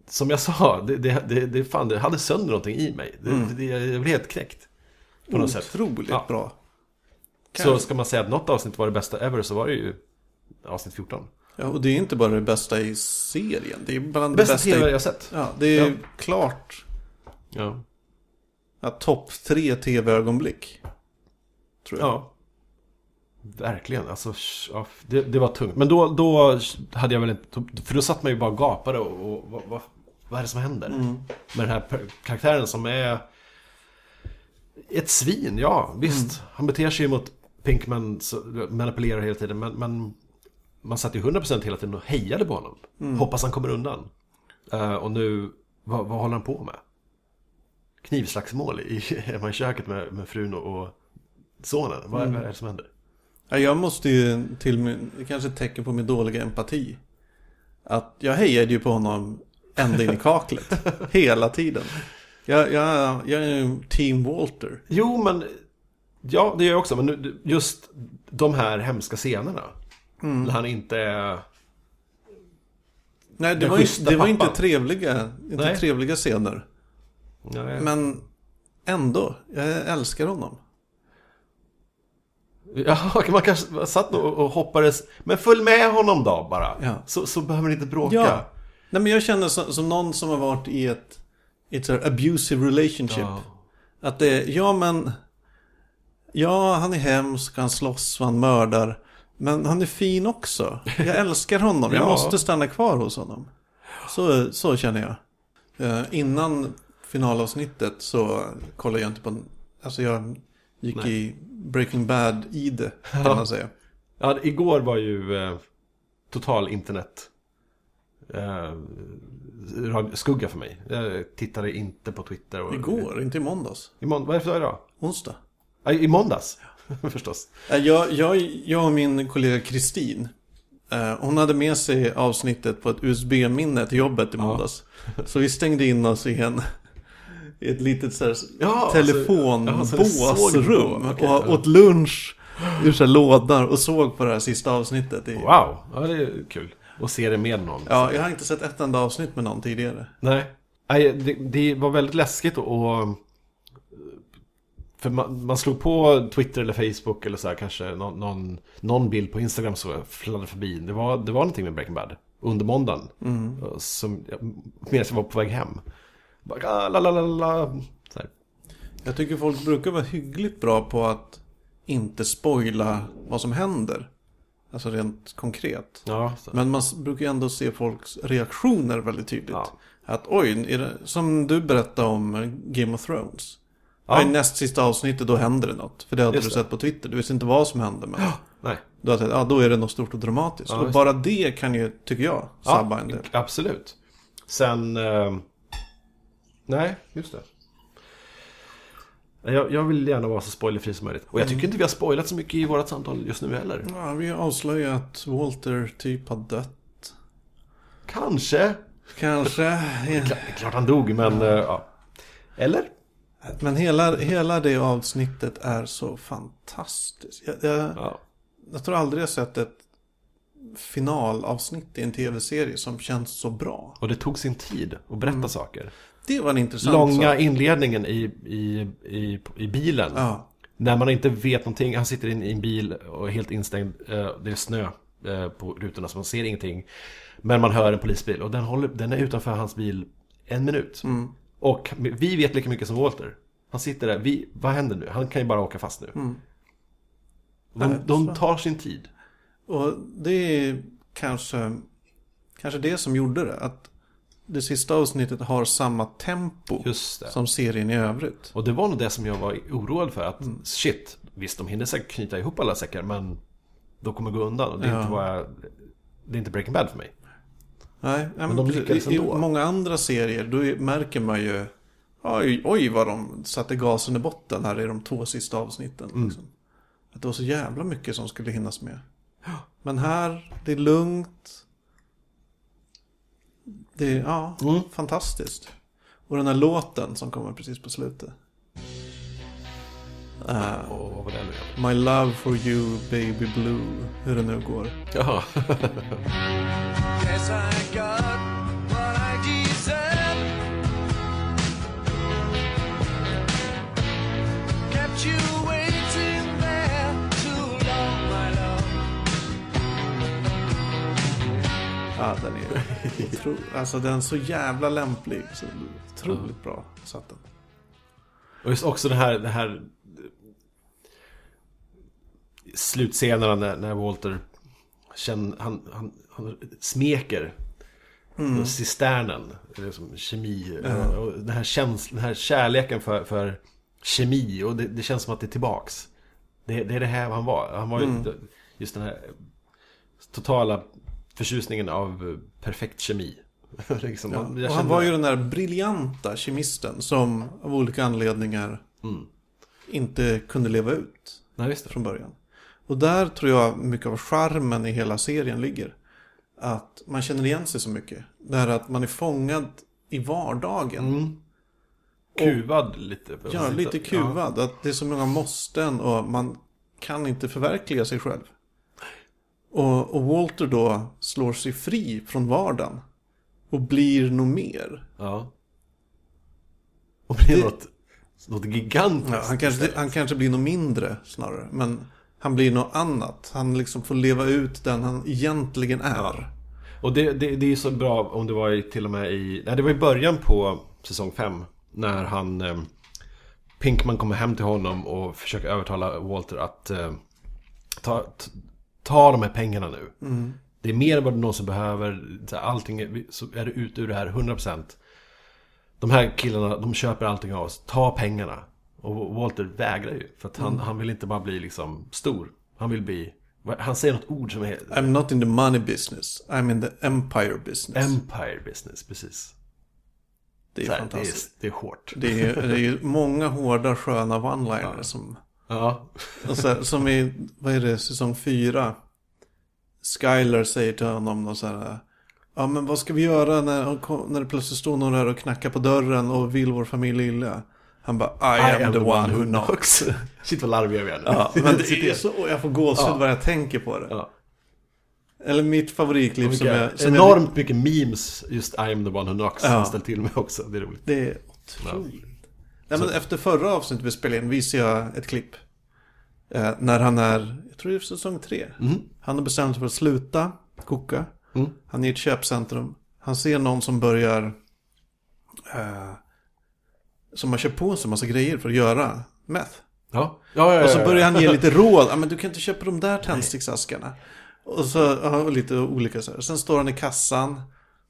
B: som jag sa, det, det, det, det, fan, det hade sönder någonting i mig. Det, det, jag blev helt knäckt. På något sätt.
A: Mm. Otroligt
B: Ja.
A: bra.
B: Så ska man säga att något avsnitt var det bästa ever så var det ju avsnitt 14.
A: Ja, och det är inte bara det bästa i serien. Det är bland det
B: Bästa
A: bästa,
B: TV jag
A: i...
B: har sett.
A: Ja, det är
B: Ja.
A: klart
B: Ja.
A: att topp tre tv-ögonblick. Tror jag.
B: Ja. Verkligen, alltså sh- ja, f- det, det var tungt. Men då, då hade jag väl inte... För då satt man ju bara och gapade och, och vad, vad, vad är det som händer? Med den här per- karaktären som är... Ett svin, ja visst. Han beter sig ju mot Pinkman, så, manipulerar hela tiden. Men, men man satt ju 100% hela tiden och hejade på honom. Hoppas han kommer undan. Eh, och nu, vad, vad håller han på med? Knivslagsmål i, [laughs] hemma i köket med, med frun och, och sonen. Vad,
A: Mm.
B: vad är det som händer?
A: Ja, jag måste ju till min, det kanske är ett tecken på min dåliga empati. Att jag hejade ju på honom ända in i
B: [laughs]
A: kaklet. hela tiden. Jag, jag, jag är ju team Walter.
B: Jo, men... Ja, det gör jag också. Men nu- just de här hemska scenerna.
A: Mm.
B: När han inte är...
A: Nej, det,
B: Den
A: var, ju,
B: schyssta
A: det var inte
B: pappan.
A: trevliga, inte
B: Nej.
A: trevliga scener.
B: Nej.
A: Men ändå, jag älskar honom.
B: [laughs] Ja, man kanske satt nog och och hoppades. Men följ med honom då bara.
A: Ja.
B: Så, så behöver ni inte bråka.
A: Ja. Nej men jag känner som, som någon som har varit i ett, i ett så här abusive relationship. Att det är, ja men, ja han är hemsk, han slåss, han mördar. Men han är fin också.
B: [laughs]
A: Jag älskar honom, jag
B: Ja.
A: måste stanna kvar hos honom. Så, så känner jag. Eh, innan finalavsnittet så kollade jag inte på, alltså jag gick
B: Nej.
A: i Breaking Bad i det kan man säga.
B: [laughs] Ja, igår var ju eh, total internet eh, radio- skugga för mig. Jag tittade inte på Twitter. Och,
A: Igår, inte i måndags.
B: I månd- vad är det för dag idag?
A: Onsdag.
B: Ja, I måndags, [laughs] förstås.
A: Eh, Jag, jag, jag och min kollega Kristin. eh, Hon hade med sig avsnittet på ett USB-minne till jobbet i måndags. Så vi stängde in oss i en... I ett litet så här,
B: Ja, alltså, ja, så ni såg
A: telefonbåsrum.
B: på, okej,
A: och
B: ja.
A: åt lunch ur så här lådor och såg på det här sista avsnittet. I,
B: Wow, ja, det är kul. Och se det med någon.
A: ja, jag har inte sett ett enda avsnitt med någon tidigare.
B: Nej, Nej det, det var väldigt läskigt och... och- För man, man slog på Twitter eller Facebook eller så här kanske någon, någon, någon bild på Instagram som fladdrade förbi. Det var, det var någonting med Breaking Bad under måndagen. Och Som, jag- medan jag var på väg hem. Bara, ah, la, la, la, la. Så här.
A: Jag tycker folk brukar vara hyggligt bra på att inte spoila vad som händer. Alltså rent konkret.
B: Ja, så.
A: Men man s- brukar ju ändå se folks reaktioner väldigt tydligt.
B: Ja.
A: Att oj, är det, som du berättade om eh, Game of Thrones.
B: Ja.
A: Ja. I näst sista avsnittet då händer det något. För det hade du
B: Just det.
A: sett på Twitter. Du visste inte vad som hände. Men
B: [gasps] Nej.
A: du hade tänkt, ja, då är det något stort och dramatiskt.
B: Ja,
A: och
B: just
A: bara det kan ju, tycker jag, sabba en del.
B: Absolut. Sen... Eh, nej, just det. Nej, Jag, jag vill gärna vara så spoilerfri som möjligt. Och jag tycker inte vi har spoilat så mycket i vårt samtal just nu heller.
A: Ja, vi avslöjar att Walter typ har dött.
B: Kanske. [laughs]
A: Kanske.
B: Kla- Klart han dog, men... eh, Ja. Eller?
A: Men hela, hela det avsnittet är så fantastiskt. Jag, jag,
B: Ja.
A: Jag tror aldrig jag sett ett finalavsnitt i en tv-serie som känns så bra.
B: Och det tog sin tid att berätta saker.
A: Det var en intressant
B: Långa
A: sak.
B: inledningen i, i, i, i bilen.
A: Ja.
B: När man inte vet någonting, han sitter in i en bil och är helt instängd, eh, det är snö eh, på rutorna så man ser ingenting. Men man hör en polisbil och den, håller, den är utanför hans bil en minut. Och vi vet lika mycket som Walter. Han sitter där, vi, vad händer nu? Han kan ju bara åka fast nu. De, de tar sin tid.
A: Och det är kanske, kanske det som gjorde det. Att det sista avsnittet har samma tempo
B: Just det.
A: som serien i övrigt.
B: Och det var nog det som jag var oroad för. Att shit, visst de hinner säkert knyta ihop alla säckar men de kommer gå undan. Och det är, inte, vad jag, det är inte Breaking Bad för mig.
A: Nej, nej, men
B: de
A: precis.
B: lyckades
A: I, i
B: ändå.
A: många andra serier då är- märker man ju oj, oj vad de satte gasen i botten här i de två sista avsnitten.
B: Mm.
A: Liksom. Att det var så jävla mycket som skulle hinnas med. Men här, det är lugnt. Det är, ja,
B: Mm.
A: fantastiskt. Och den här låten som kommer precis på slutet.
B: Och vad var det nu igen?
A: My love for you baby blue. Hur det nu går.
B: Jaha.
D: Yes, I got what I deserve. Kept you waiting there too long, my love.
A: Ja, den
B: [laughs]
A: är otro... Alltså den är så jävla lämplig. Så otroligt bra satt den.
B: Och just också den här, den här slutscenerna när, när Walter känner, han, han, han smeker
A: Mm.
B: cisternen, eller som kemi, och den här, känslan, den här kärleken för, för kemi och det, det känns som att det är tillbaks. Det, det är det här han var. Han var ju
A: Mm.
B: just den här totala förtjusningen av
A: [laughs]
B: perfekt kemi. liksom, man- jag
A: Och han
B: kände-
A: var ju den där briljanta kemisten som av olika anledningar
B: Mm.
A: inte kunde leva ut
B: Nej, just det.
A: från början. Och där tror jag mycket av charmen i hela serien ligger. Att man känner igen sig så mycket. Det här att man är fångad i vardagen.
B: Mm. Kuvad lite.
A: Ja, lite kuvad. Att det är så många måsten och man kan inte förverkliga sig själv. Och, och Walter då slår sig fri från vardagen. Och blir nog mer.
B: Ja. Och blir
A: Det-
B: något, något gigantiskt.
A: Ja, han, kanske, han kanske blir något mindre snarare. Men han blir något annat. Han liksom får leva ut den han egentligen är.
B: Och det, det, det är ju så bra om det var i, till och med i... Nej, det var i början på säsong 5. När han eh, Pinkman kommer hem till honom och försöker övertala Walter att eh, ta, t- ta de här pengarna nu. Det är mer än vad du någonsin behöver. Så här, Allting är, så är du ut ur det här 100%. De här killarna, de köper allting av oss. Ta pengarna. Och Walter vägrar ju. För att han, han vill inte bara bli liksom stor. Han vill bli... vad- Han säger något ord som är...
A: I'm not in the money business. I'm in the empire business.
B: Empire business, precis.
A: det är
B: Det är, det är,
A: fantastiskt.
B: det är hårt.
A: Det är, det är ju många hårda sköna one-liners som,
B: Ja.
A: och så här, som i, vad är det, säsong fyra. Skyler säger till honom och så här. Ja men vad ska vi göra när, när det plötsligt står någon här och knackar på dörren och vill vår familj illa? Han bara I, am, the one who knocks.
B: Shit vad larviga vi är nu. [laughs]
A: Ja, men det är ju så, och jag får gåshud bara jag tänker på det.
B: Ja.
A: Eller mitt favoritklipp som
B: Vilka
A: jag... Som jag-
B: enormt mycket memes, just I am the one who knocks,
A: Ja.
B: som ställt till med också. Det är roligt.
A: Det är otroligt. Nej, men efter förra avsnittet vi spelade in visade jag ett klipp. Eh, när han är, jag tror det är säsong tre. Han har bestämt sig för att sluta koka. Han är i ett köpcentrum. Han ser någon som börjar... Eh, som har köpt på sig en massa grejer för att göra meth.
B: Ja. Ja, ja, ja,
A: Och så
B: ja.
A: börjar han ge
B: [laughs]
A: lite råd. Ja, men du kan inte köpa de där tändsticksaskarna. Och så ja, och lite olika så här. Sen står han i kassan.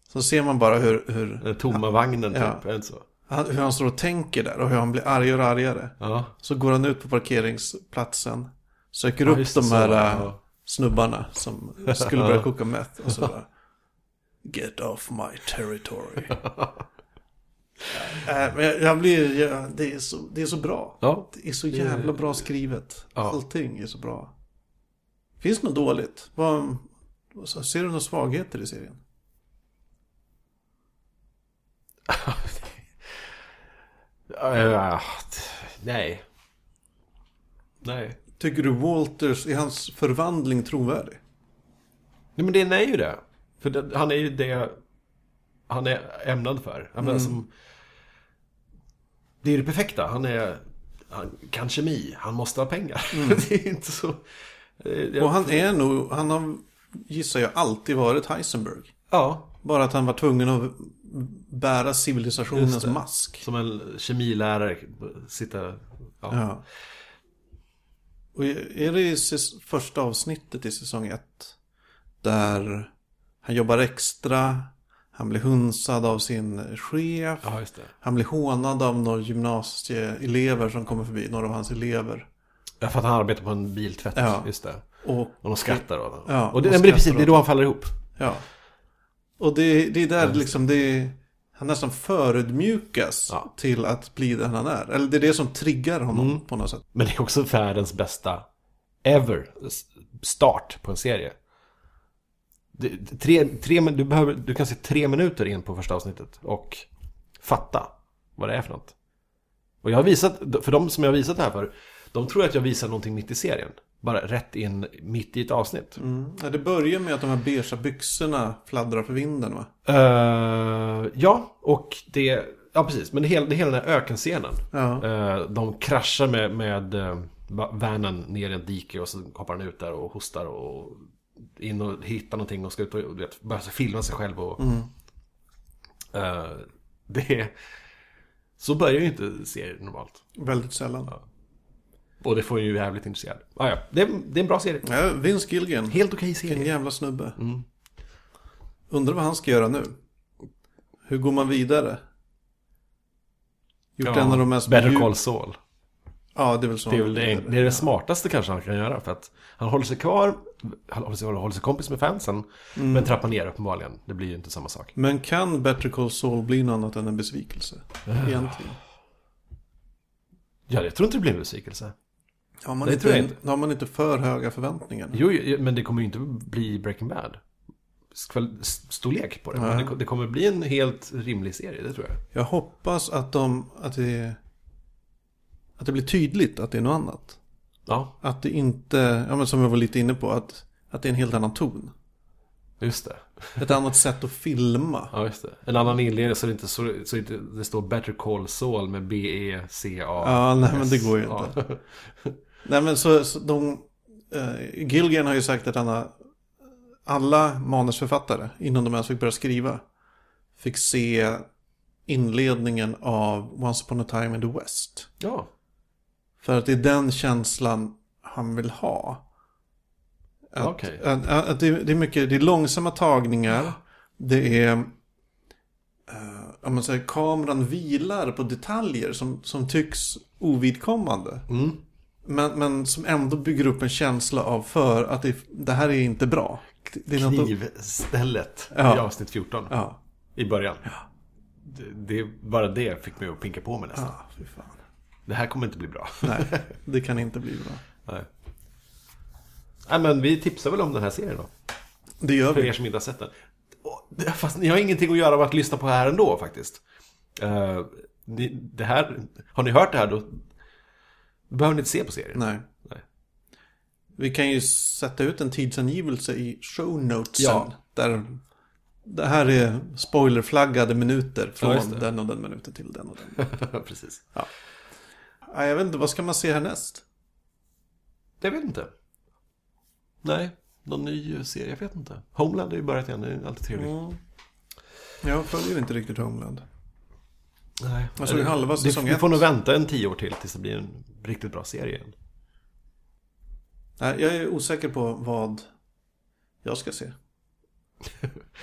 A: Så ser man bara hur, hur
B: Den tomma vagnen
A: Ja.
B: typ, är det inte så?
A: han, hur han står och tänker där och hur han blir argare och argare.
B: Ja.
A: Så går han ut på parkeringsplatsen, söker upp
B: just
A: de
B: det, så,
A: här
B: ja.
A: äh, snubbarna som skulle börja koka meth.
B: [laughs]
A: Och så bara, Get off my
B: [laughs]
A: territory. Äh, men jag, jag blir, jag, det, är så, det är så bra.
B: Ja.
A: Det är så jävla bra skrivet.
B: Ja.
A: Allting är så bra. Finns det något dåligt? Vad, så ser du några svagheter i serien?
B: Eh, nej. Nej.
A: Tycker du Walters, är hans förvandling trovärdig?
B: Nej men det är ju det. För det, han är ju det han är ämnad för. Jag
A: Mm.
B: menar, som, det är ju det perfekta. Han är han kan kemi. Han måste ha pengar.
A: Mm.
B: [laughs] det är inte så... eh, jag-
A: Och han är nog, han har, gissar jag, alltid varit Heisenberg.
B: Ja,
A: Bara att han var tvungen att bära civilisationens mask.
B: som en kemilärare. Sitta... Ja.
A: Ja. Och är det i säs- första avsnittet i säsong ett? Där han jobbar extra, han blir hunsad av sin chef,
B: ja, just det.
A: han blir hånad av några gymnasieelever som kommer förbi, några av hans elever.
B: Ja, för att han arbetar på en biltvätt.
A: Ja.
B: Just det.
A: Och
B: Och de skrattar åt honom.
A: Ja,
B: och det,
A: de
B: nej, men det är precis,
A: skrattar
B: det är då han faller ihop.
A: Ja. Och det, det är där liksom det Han nästan förödmjukas
B: Ja. Mm.
A: till att bli den han är. Eller det är det som triggar honom på något sätt.
B: Men det är också världens bästa ever s- start på en serie. Det, det- tre, tre, min- du, behöver, du kan se tre minuter in på första avsnittet och fatta vad det är för något. Och jag har visat, för de som jag har visat det här för, de tror att jag visar någonting mitt i serien. Bara rätt in mitt i ett avsnitt.
A: Ja, det börjar med att de här beiga byxorna fladdrar för vinden va?
B: Eh, ja, och det... Ja, precis. Men det hela, det hela den här ökenscenen.
A: Ja.
B: Eh, de kraschar med, med eh, va- vanen ner i en dike och så hoppar han ut där och hostar och in och hittar någonting och ska ut och du vet, börja filma sig själv och... Eh, det är... Så börjar ju inte serier normalt.
A: Väldigt sällan.
B: Och det får ju jävligt intresserad. Ah, ja, det, är- det är en bra serie.
A: Ja, Vince Gilligan.
B: Helt okej
A: En
B: serie.
A: jävla snubbe.
B: Mm.
A: Undrar vad han ska göra nu. Hur går man vidare? Gjort en av de mest...
B: Better
A: djup-
B: Call Saul.
A: Ja, det är väl så.
B: Det är
A: han
B: väl
A: går
B: det,
A: vidare.
B: det, är det smartaste kanske han kan göra för att han håller sig kvar, han håller sig, håller sig kompis med fansen,
A: Mm.
B: men trappar ner uppenbarligen. Det blir ju inte samma sak.
A: Men kan Better Call Saul bli något annat än en besvikelse?
B: Ah.
A: Egentligen.
B: Ja, jag tror inte det blir en besvikelse.
A: Har man,
B: Det
A: inte,
B: tror jag inte.
A: har man inte för höga förväntningar?
B: Jo, jo, men det kommer ju inte bli Breaking Bad. Skval- s- Storlek på det. Men
A: Nej.
B: det. ko- Det kommer bli en helt rimlig serie, det tror jag.
A: Jag hoppas att, de, att, det, att det blir tydligt att det är något annat.
B: Ja,
A: Att det inte, ja, men som jag var lite inne på, att, att det är en helt annan ton.
B: just det.
A: Ett annat sätt att filma.
B: Ja, just det. En annan inledning så det inte, så, så inte det står Better Call Saul med B-E-C-A.
A: Ja, nej men det
B: S.
A: går ju
B: Ja.
A: inte. Nej men så, så de, eh, Gilligan har ju sagt att han har, alla manusförfattare, innan de ens fick börja skriva, fick se inledningen av Once upon a time in the West.
B: [laughs] Ja,
A: För att det är den känslan han vill ha. Att,
B: Okej.
A: att, att, att det, är- det är mycket, det är långsamma tagningar. Det är, eh, om man säger kameran vilar på detaljer som, som tycks ovidkommande. Men, men som ändå bygger upp en känsla av för att det, det här är inte bra. Det är något att-
B: Knivstället
A: Ja.
B: i avsnitt 14.
A: Ja.
B: I början. Det, det, bara det fick mig att pinka på mig nästan.
A: Ah, fy fan.
B: Det här kommer inte bli bra. [laughs]
A: Nej, det kan inte bli bra.
B: Nej. Nej men vi tipsar väl om den här serien då.
A: Det gör
B: För er
A: vi.
B: som inte har sett den. Och- Fast ni har ingenting att göra med att lyssna på här ändå faktiskt. Eh, ni, det här, har ni hört det här då behöver ni inte se på serien.
A: Nej.
B: Nej. [laughs]
A: Vi kan ju sätta ut en tidsangivelse i show notesen.
B: Ja.
A: Där det här är spoilerflaggade minuter från
B: just det.
A: den och den minuten till den och den.
B: Precis.
A: Nej, jag vet inte, vad ska man se härnäst?
B: Jag vet inte. Nej, någon ny serie, jag vet inte. Homeland har ju börjat igen, det är alltid trevligt.
A: Mm. Jag följer inte riktigt Homeland.
B: Nej.
A: Jag såg halva säsong
B: du, du får
A: ett.
B: nog vänta en tio år till tills det blir en riktigt bra serie igen.
A: Nej, jag är osäker på vad jag ska se.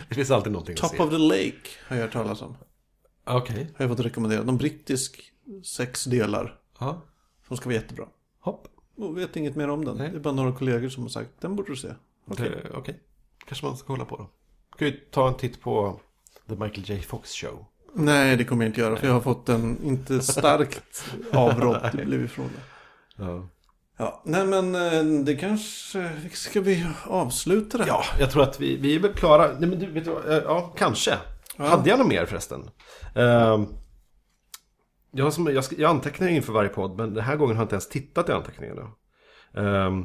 B: Det finns alltid någonting att se.
A: Top of the Lake har jag hört talas om.
B: Okej.
A: Har jag fått rekommenderat. Någon brittisk sex delar.
B: Ja.
A: Som ska vara jättebra.
B: Hopp.
A: Och vet inget mer om den. Det är bara några kollegor som har sagt den borde du se.
B: Okej. Kanske man ska kolla på då. Ska vi ta en titt på The Michael J. Fox Show.
A: Nej, det kommer jag inte göra för jag har fått en inte starkt avrått. Det blev ifrån det.
B: Ja.
A: Ja, nej men eh, det kanske... Ska vi avsluta det? här?
B: Ja, jag tror att vi, vi är väl klara. Nej, men du, vet du vad? Eh, Ja, kanske. Hade jag något mer förresten? Ehm, jag, har som, jag, sk- jag antecknar ju inför varje podd, men den här gången har jag inte ens tittat i anteckningarna. Ehm,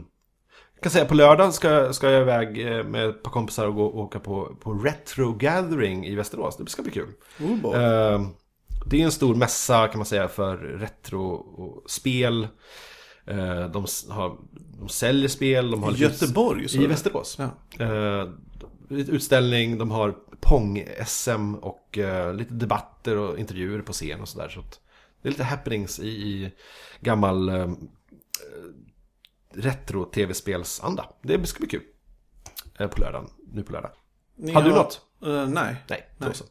B: jag kan säga på lördag ska, jag- ska jag iväg eh, med ett par kompisar och gå och åka på, på Retro Gathering i Västerås. Det ska bli kul.
A: Oh, boy.
B: Ehm, det är en stor mässa kan man säga för retro och spel. Eh, de, s- har, de säljer spel, de har
A: I
B: lite-
A: Göteborg, så är
B: I
A: det.
B: Västerås.
A: Ja.
B: Eh, lite utställning, de har Pong-SM och eh, lite debatter och intervjuer på scen och sådär. Så att det är lite happenings i, i gammal eh, eh, retro-tv-spelsanda. Det ska bli kul. Eh, på lördagen, nu på lördag.
A: Ni
B: Har du något?
A: Eh, nej.
B: Nej,
A: Nej.
B: då så.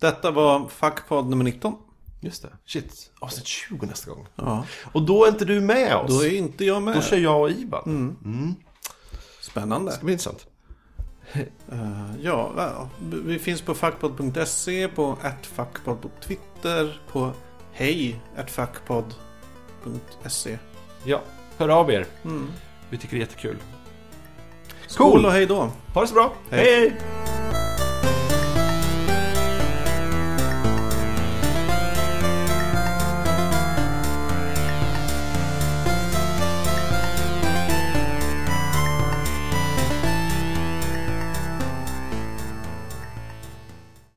A: Detta var Fackpodd nummer 19.
B: Just det. Shit, avsnitt 20 nästa gång.
A: Ja.
B: Och då är inte du med oss.
A: Då
B: Då,
A: är inte jag med.
B: kör jag och Ivan. Mm.
A: Spännande.
B: Det blir intressant.
A: Ja, ja, vi finns på fackpodd.se, på @fackpodd på Twitter, på hej fackpodd.se.
B: Ja, hör av er. Vi tycker det är jättekul.
A: Skål
B: Cool.
A: och hej då!
B: Ha det så bra.
A: Hej.
B: hej.